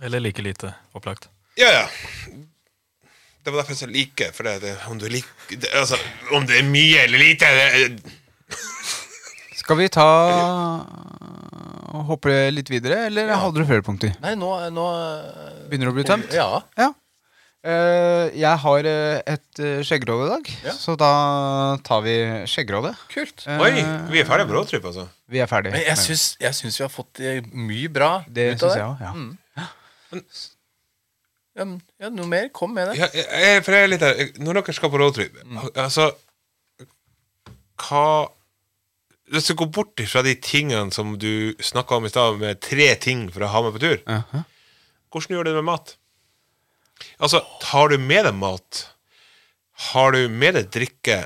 Eller like lite opplagt.
Ja, ja. Det var derfor jeg sa like. For det, det, om, du lik, det, altså, om det er mye eller lite det,
Skal vi ta og hoppe litt videre, eller hadde du flere punkter?
Nei, nå, nå eh,
Begynner det å bli tømt?
Ja.
Ja. Eh, jeg har eh, et uh, skjeggeråd i dag,
Ja.
så da tar vi skjeggerådet.
Kult.
Eh,
Oi, vi er ferdige på roadtrip, altså.
Vi er ferdige.
Men jeg syns, jeg syns vi har fått eh, mye bra
det
ut av
syns
det.
jeg òg. Ja.
Ja, men- ja, noe mer? Kom med det.
Ja, jeg, jeg, for jeg er litt her. Når dere skal på roadtrip, altså Hva Hvis du går bort fra de tingene som du snakka om i stad, med tre ting for å ha med på tur,
Aha.
hvordan gjør du det med mat? Altså, tar du med deg mat? Har du med deg drikke?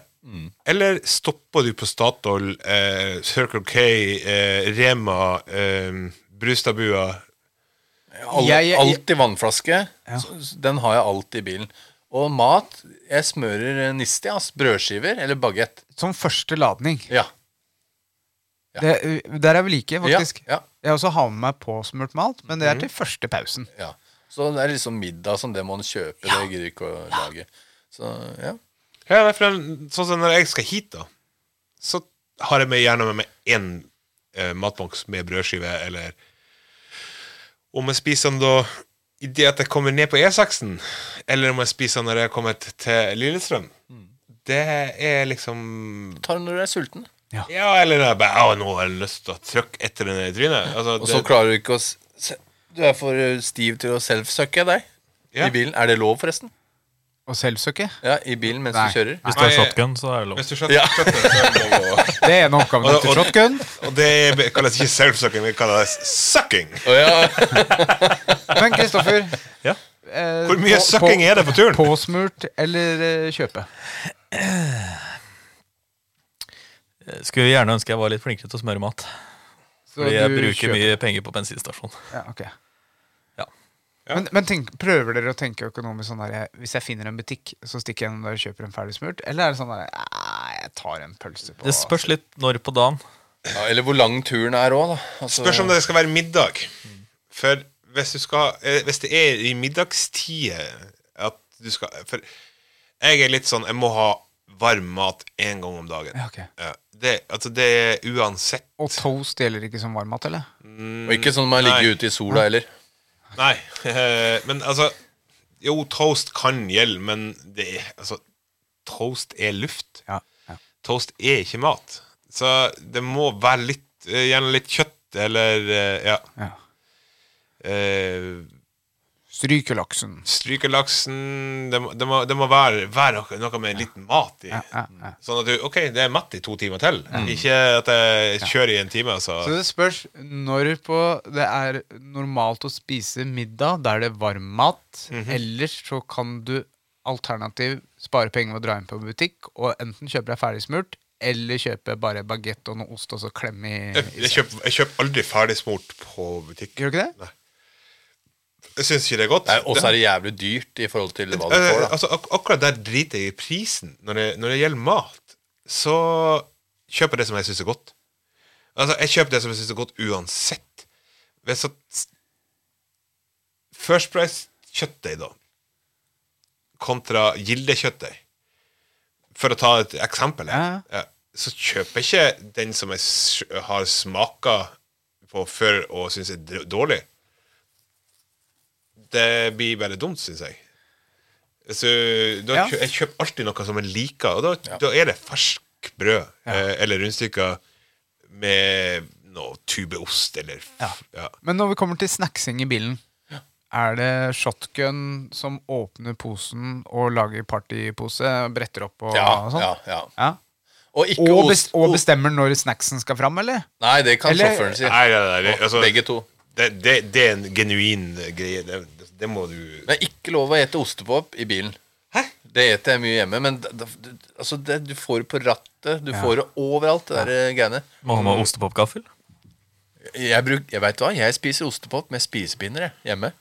Eller stopper du på Statoil, eh, Circle K, eh, Rema, eh, Brustadbua?
Alle,
Jeg- jeg-
alltid vannflaske. Så- så Den har jeg alltid i bilen. Og mat Jeg smører eh, nisti. ass. Brødskiver eller bagett.
Som første ladning.
Ja. Ja.
Det, uh, der er vi like, faktisk.
Ja, Mm. ja.
Jeg også har med meg påsmurt malt, men det er til første pausen.
ja. Så det er liksom middag som det må en kjøpe. Det gidder ikke å lage. Så ja.
Ja, det er for en, sånn som når jeg skal hit, da, så har jeg med, gjerne med meg én eh, matboks med brødskive, eller Om jeg spiser den da i det at jeg kommer ned på E6-en, eller om jeg spiser den når jeg har kommet til Lillestrøm, det er liksom
Ta det når du er sulten.
Ja, eller det er bare Å, nå har jeg lyst til å trykke etter den i trynet. Altså,
Og så
det-
klarer du ikke å s- se- Du er for eh, stiv til å self-søkke deg
Ja.
i bilen. Er det lov, forresten?
Og selvsøke.
Ja, I bilen mens
Nei.
du kjører?
Hvis du har
Nei,
shotgun, så er det lov.
Hvis du skjønner,
Ja.
skjønner det, så er det lov å-
Det er en av oppgavene
Og-
til
og-
shotgun.
Og det kalles ikke self-sucking, det kalles sucking.
Å, ja.
Men Kristoffer
Ja.
eh,
Hvor mye
på-
sucking
på-
er det på turen?
Påsmurt eller eh, kjøpe?
Skulle gjerne ønske jeg var litt flinkere til å smøre mat.
Så
Fordi jeg
du
bruker
kjøper-
mye penger på bensinstasjon.
Ja, ok.
Ja.
Men, men tenk, prøver dere å tenke økonomisk sånn der Hvis jeg finner en butikk, så stikker jeg innom der og kjøper en ferdig smurt? Eller er det sånn der Nei, jeg tar en pølse på
Det spørs litt når på dagen.
Ja, eller hvor lang turen er òg, da. Altså,
Spørs om det skal være middag. For hvis, du skal, eh, hvis det er i middagstida at du skal For jeg er litt sånn Jeg må ha varm mat én gang om dagen.
Ja, ok.
Ja, det, altså, det er uansett
Og toast gjelder ikke som varmmat, eller?
Og ikke sånn man ligger
Nei.
ute i sola heller.
Nei. eh, Men altså Jo, toast kan gjelde, men det er Altså, toast er luft.
Ja. ja.
Toast er ikke mat. Så det må være litt eh, Gjerne litt kjøtt eller eh, Ja.
ja.
Eh,
Stryker laksen.
Stryker laksen Det må, det må, det må være, være noe- noe med litt mat i.
ja, ja. Mm.
Sånn at du OK, det er mett i to timer til. Ikke at jeg kjører i en time, altså.
Så det spørs når på det er normalt å spise middag der det er varm mat.
Mhm.
Ellers så kan du alternativ spare penger ved å dra inn på butikk og enten kjøpe deg ferdigsmurt, eller kjøpe bare bagett og noe ost og så klemme i,
Jeg,
i
jeg, kjøper, jeg kjøper aldri ferdigsmurt på butikk.
Gjør du ikke det?
Jeg syns ikke det er godt.
Nei, Og så er det jævlig dyrt i forhold til hva du
Eh,
får, da.
altså, ak akkurat der driter jeg i prisen. Når det, når det gjelder mat, så kjøper jeg det som jeg syns er godt. Altså, jeg kjøper det som jeg syns er godt uansett. Hvis at First Price kjøttdeig, da, kontra Gilde-kjøttdeig, for å ta et eksempel, her, ja, så kjøper jeg ikke den som jeg s- har smaka på før og syns er d- dårlig. Det blir bare dumt, syns jeg. Så da,
Ja.
kjø- Jeg kjøper alltid noe som jeg liker, og da, da er det fersk brød eh, eller rundstykker med noe tubeost eller f- ja.
Men når vi kommer til snacksing i bilen, er det shotgun som åpner posen og lager partypose, bretter opp og,
Ja,
og sånn?
ja, ja.
Ja.
Og ikke
Og, bes
ost.
og bestemmer når snacksen skal fram, eller?
Nei, det kan
Eller-
sjåføren si.
Nei, nei, nei, det- altså,
Begge to.
Det, det, det er en genuin greie. Det, det, det må du
Det er ikke lov å ete ostepop i bilen. Hæ? Det eter jeg mye hjemme, men da, da, du- altså det, du får det på rattet. Du får det overalt, det der eh, greiene.
Må ha med ostepopgaffel.
Jeg, bruk, jeg vet hva, jeg spiser ostepop med spisepinner jeg, hjemme.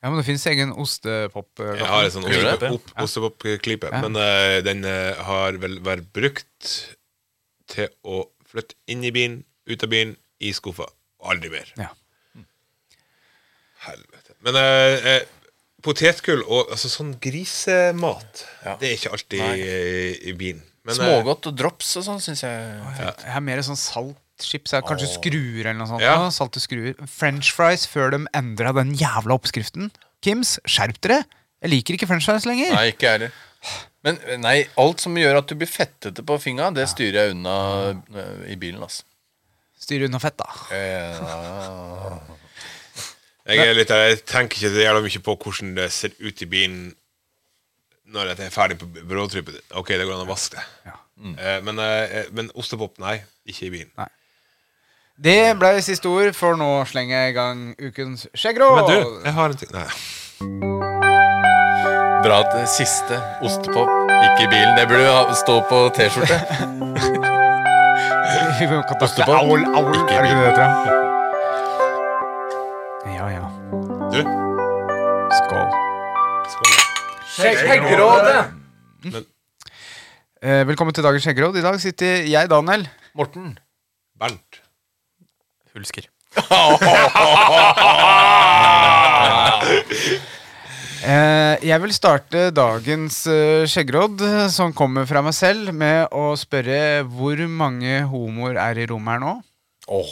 Ja, men det fins egen ostepop. eh,
Jeg har en sånn
Gjør du
det?
ostepop- opp- ostepopklype, men eh, den eh, har vel vært brukt til å flytte inn i bilen, ut av bilen, i skuffa. Aldri mer.
Ja.
Helvete. Men eh, eh, potetgull og altså, sånn grisemat,
Ja.
det er ikke alltid eh, i bilen. Men, eh,
Smågodt og drops og sånn syns jeg.
Jeg har mer sånn saltchips. jeg har Kanskje skruer eller noe sånt.
Ja.
nå, Salte skruer. French fries før de endra den jævla oppskriften. Kims, skjerp dere! Jeg liker ikke french fries lenger.
Nei, ikke jeg heller. Men eh, nei, alt som gjør at du blir fettete på fingra, det styrer jeg unna eh, i bilen, altså.
Styr unna fett, da.
Eh,
Jeg, er litt, jeg tenker ikke så jævla mye på hvordan det ser ut i bilen når jeg er ferdig på bråtrippet. Ok, det går an å vaske det.
Ja.
Eh, men, eh, men ostepop, nei. Ikke i bilen.
Det ble siste ord, for nå slenger jeg i gang ukens skjeggråd.
Men du, jeg har en ting Nei.
Bra at det siste ostepop ikke i bilen. Det burde ha- stå på T-skjorte.
Katastrofe.
Ostepop.
Aul, aul.
Ikke
Er det ikke det det heter? da? Ja, ja.
Du?
Skål.
Skål.
Eh, velkommen til dagens skjeggråd. I dag sitter jeg, Daniel.
Morten.
Bernt.
Hulsker.
Eh, jeg vil starte dagens eh, skjeggråd, eh, som kommer fra meg selv, med å spørre hvor mange homoer er i rommet her nå?
Åh,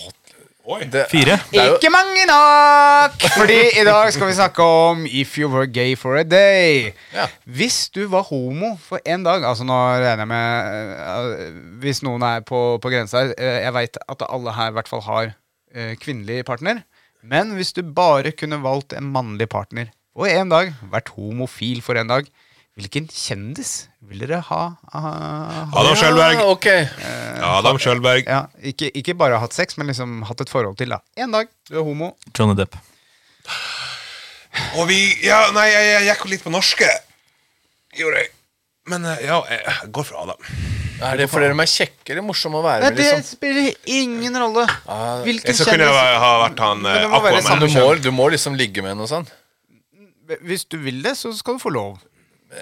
Oi.
det,
Fire.
Det er jo,
Ikke mange nok! Fordi i dag skal vi snakke om If you were gay for a day.
Ja.
Hvis du var homo for én dag Altså nå regner jeg med eh, Hvis noen er på, på grensa her eh, Jeg veit at alle her i hvert fall har eh, kvinnelig partner. Men hvis du bare kunne valgt en mannlig partner for én dag, vært homofil for én dag, hvilken kjendis vil dere ha? ha- ha-
Adam Sjølberg.
Ja, ok.
Adam Sjølberg.
Ja, ikke, ikke bare hatt sex, men liksom hatt et forhold til. da Én dag, du er homo.
Johnny Depp.
Og vi Ja, nei, jeg, jeg gikk jo litt på norske. Gjorde jeg. Men eh, ja, jeg går for Adam.
Er det fordi de er kjekke eller morsomme å være
Nei,
med?
det
liksom?
spiller ingen rolle.
Ah,
Hvilken
Så kunne
kjendis-
jeg ha vært han eh,
Men det må være
Så
samme
du
kjønn.
må, du må liksom ligge med noe sånt?
Hvis du vil det, så skal du få lov.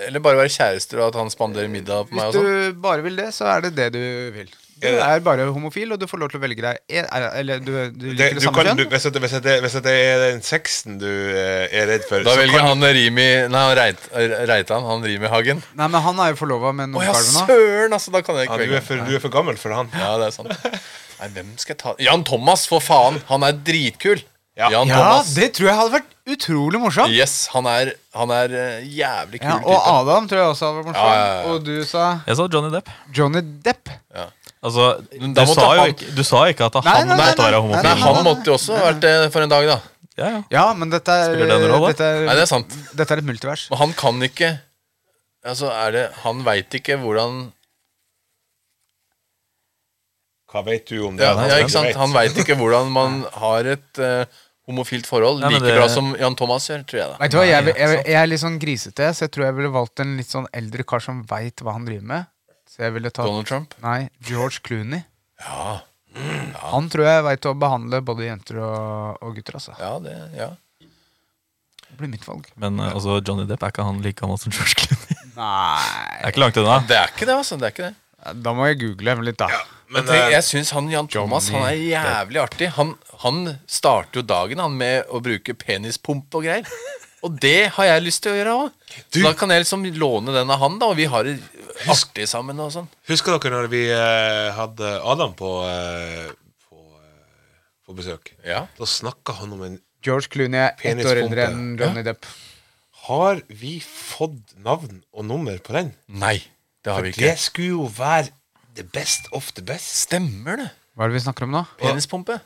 Eller bare være kjærester og at han spanderer middag på meg?
Hvis
og sånn
du bare vil det, så er det det du vil. Du er bare homofil, og du får lov til å velge deg en- Eller du, du liker det,
det, du
samme
kan, du,
kjønn.
hvis, det, hvis, det, hvis det er den sexen du eh, er redd for
Da
så
velger
kan-
han Rimi Nei, han Reit, Reitan. Han Rimi-Hagen.
Nei, men han er jo forlova med
Å ja,
nummerkalven nå.
søren! Altså, da kan jeg
ja,
ikke
du,
velge.
er for, du er for gammel for han.
Ja, det er sant. Nei, hvem skal jeg ta Jan Thomas, for faen! Han er dritkul.
Ja,
Jan Thomas.
det tror jeg hadde vært utrolig morsomt.
Yes, han er, han er eh, jævlig kul
Ja, og
type.
Adam tror jeg også hadde vært morsom.
Ja, ja, ja.
Og du sa
Jeg sa Johnny Depp.
Johnny Depp.
Altså,
Men
du
da måtte
sa, jo
han-
ikke, du sa ikke at han
Nei, nei, nei,
måtte være
nei,
homofil.
Nei,
nei,
han
nei.
måtte jo også ha vært det for en dag, da.
Ja, ja.
Ja, men dette er,
Spiller det en rolle?
dette
Nei,
er,
det er sant.
dette er et multivers.
Men han kan ikke Altså, er det Han veit ikke hvordan
Hva vet du om det?
Ja,
Han
ja
vet.
ikke sant? Han veit ikke hvordan man har et eh, homofilt forhold
Nei,
like
men det-
bra som Jan Thomas gjør, tror jeg, da.
Vet du hva, jeg, jeg, jeg,
sant.
er litt sånn grisete, så jeg tror jeg ville valgt en litt sånn eldre kar som veit hva han driver med. Så jeg ville tatt
Donald Trump.
Nei, George Clooney. Han tror jeg veit å behandle både jenter og, og gutter, altså.
Ja, det ja.
Det blir mitt valg.
Men eh, altså, Johnny Depp er ikke han like gammel som George Clooney.
Nei
Det er ikke langt unna.
Det er ikke det, altså. Det er ikke det.
Da må jeg google litt, da.
Men,
Men tenk,
eh,
jeg syns han Jan Thomas han er jævlig artig. Han, han starter jo dagen han med å bruke penispump og greier. Og det har jeg lyst til å gjøre òg. Da kan jeg liksom låne den av han, da og vi har det artig sammen. og sånn
Husker dere når vi eh, hadde Adam på, eh, på, eh, på besøk?
Ja.
Da snakka han om en
George Clooney er ett år
Penispumpe.
eldre enn Johnny Depp.
Har vi fått navn og nummer på den?
Nei, det har vi
Det
ikke.
skulle jo være the best of the best.
Stemmer det?
Hva er det vi snakker om nå?
Penispumpe?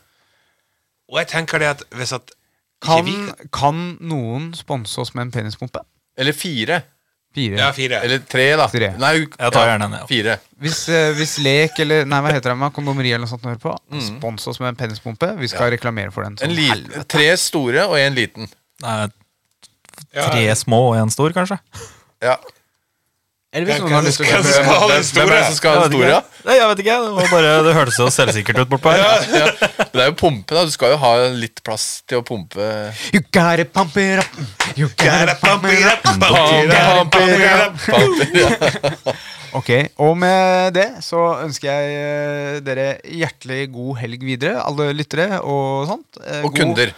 Og jeg tenker det at hvis at
Kan,
ikke vi-
kan noen sponse oss med en penispumpe?
Eller fire?
Fire.
Ja, fire.
Eller tre, da.
Tre.
Nei,
Jeg tar gjerne en, jeg.
Fire.
Hvis, eh, hvis lek eller nei, hva heter det, med kondomeri eller noe sånt hører på, spons oss med en penispumpe. Vi skal reklamere for den. som
En liten,
helvete.
tre store og en liten.
Nei, tre små og én stor, kanskje?
Ja.
Eller hvis noen har lyst til
Hvem
å
skal ha den
Hvem er
store?
det som skal ha den store? da?
Nei, jeg vet ikke. Det, var bare, det hørtes så selvsikkert ut bortpå her.
Det er jo pumpe, da. Du skal jo ha litt plass til å pumpe.
You gotta pump it up. You gotta pump it up. Ok, og med det så ønsker jeg eh, dere hjertelig god helg videre, alle lyttere og sånt. Eh,
Og
god-
kunder.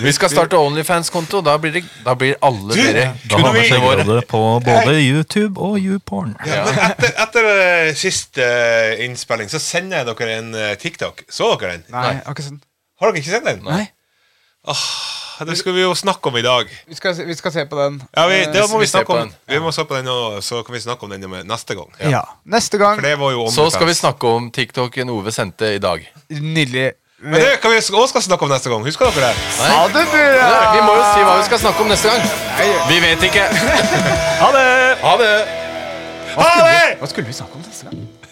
Vi skal starte Onlyfans-konto. Da blir, det, da blir alle dere
Da har vi
kundene våre.
sjekkerådet på både YouTube og YouPorn.
Ja, men etter, etter eh, sist eh, innspilling så sender jeg dere en eh, TikTok. Så dere den?
Nei, sånn. jeg har ikke sett den.
Har dere ikke sett den?
Nei.
Det skal vi jo snakke om i dag.
Vi skal, se- vi skal se på den.
Ja, vi, det
Eh,
må
vi
vi
ser
snakke
på
om. Vi må se på den, og så kan vi snakke om den neste gang.
Ja. Neste gang.
For det var jo
Så skal vi
OnlyFans.
snakke om TikTok-en Ove sendte i dag.
Nydelig.
Men det kan vi også skal snakke om neste gang. Husker dere det?
Ha det bra!
Vi må jo si hva vi skal snakke om neste gang. Vi vet ikke. Ha det. Ha det.
Hva skulle, hva skulle vi snakke om neste gang?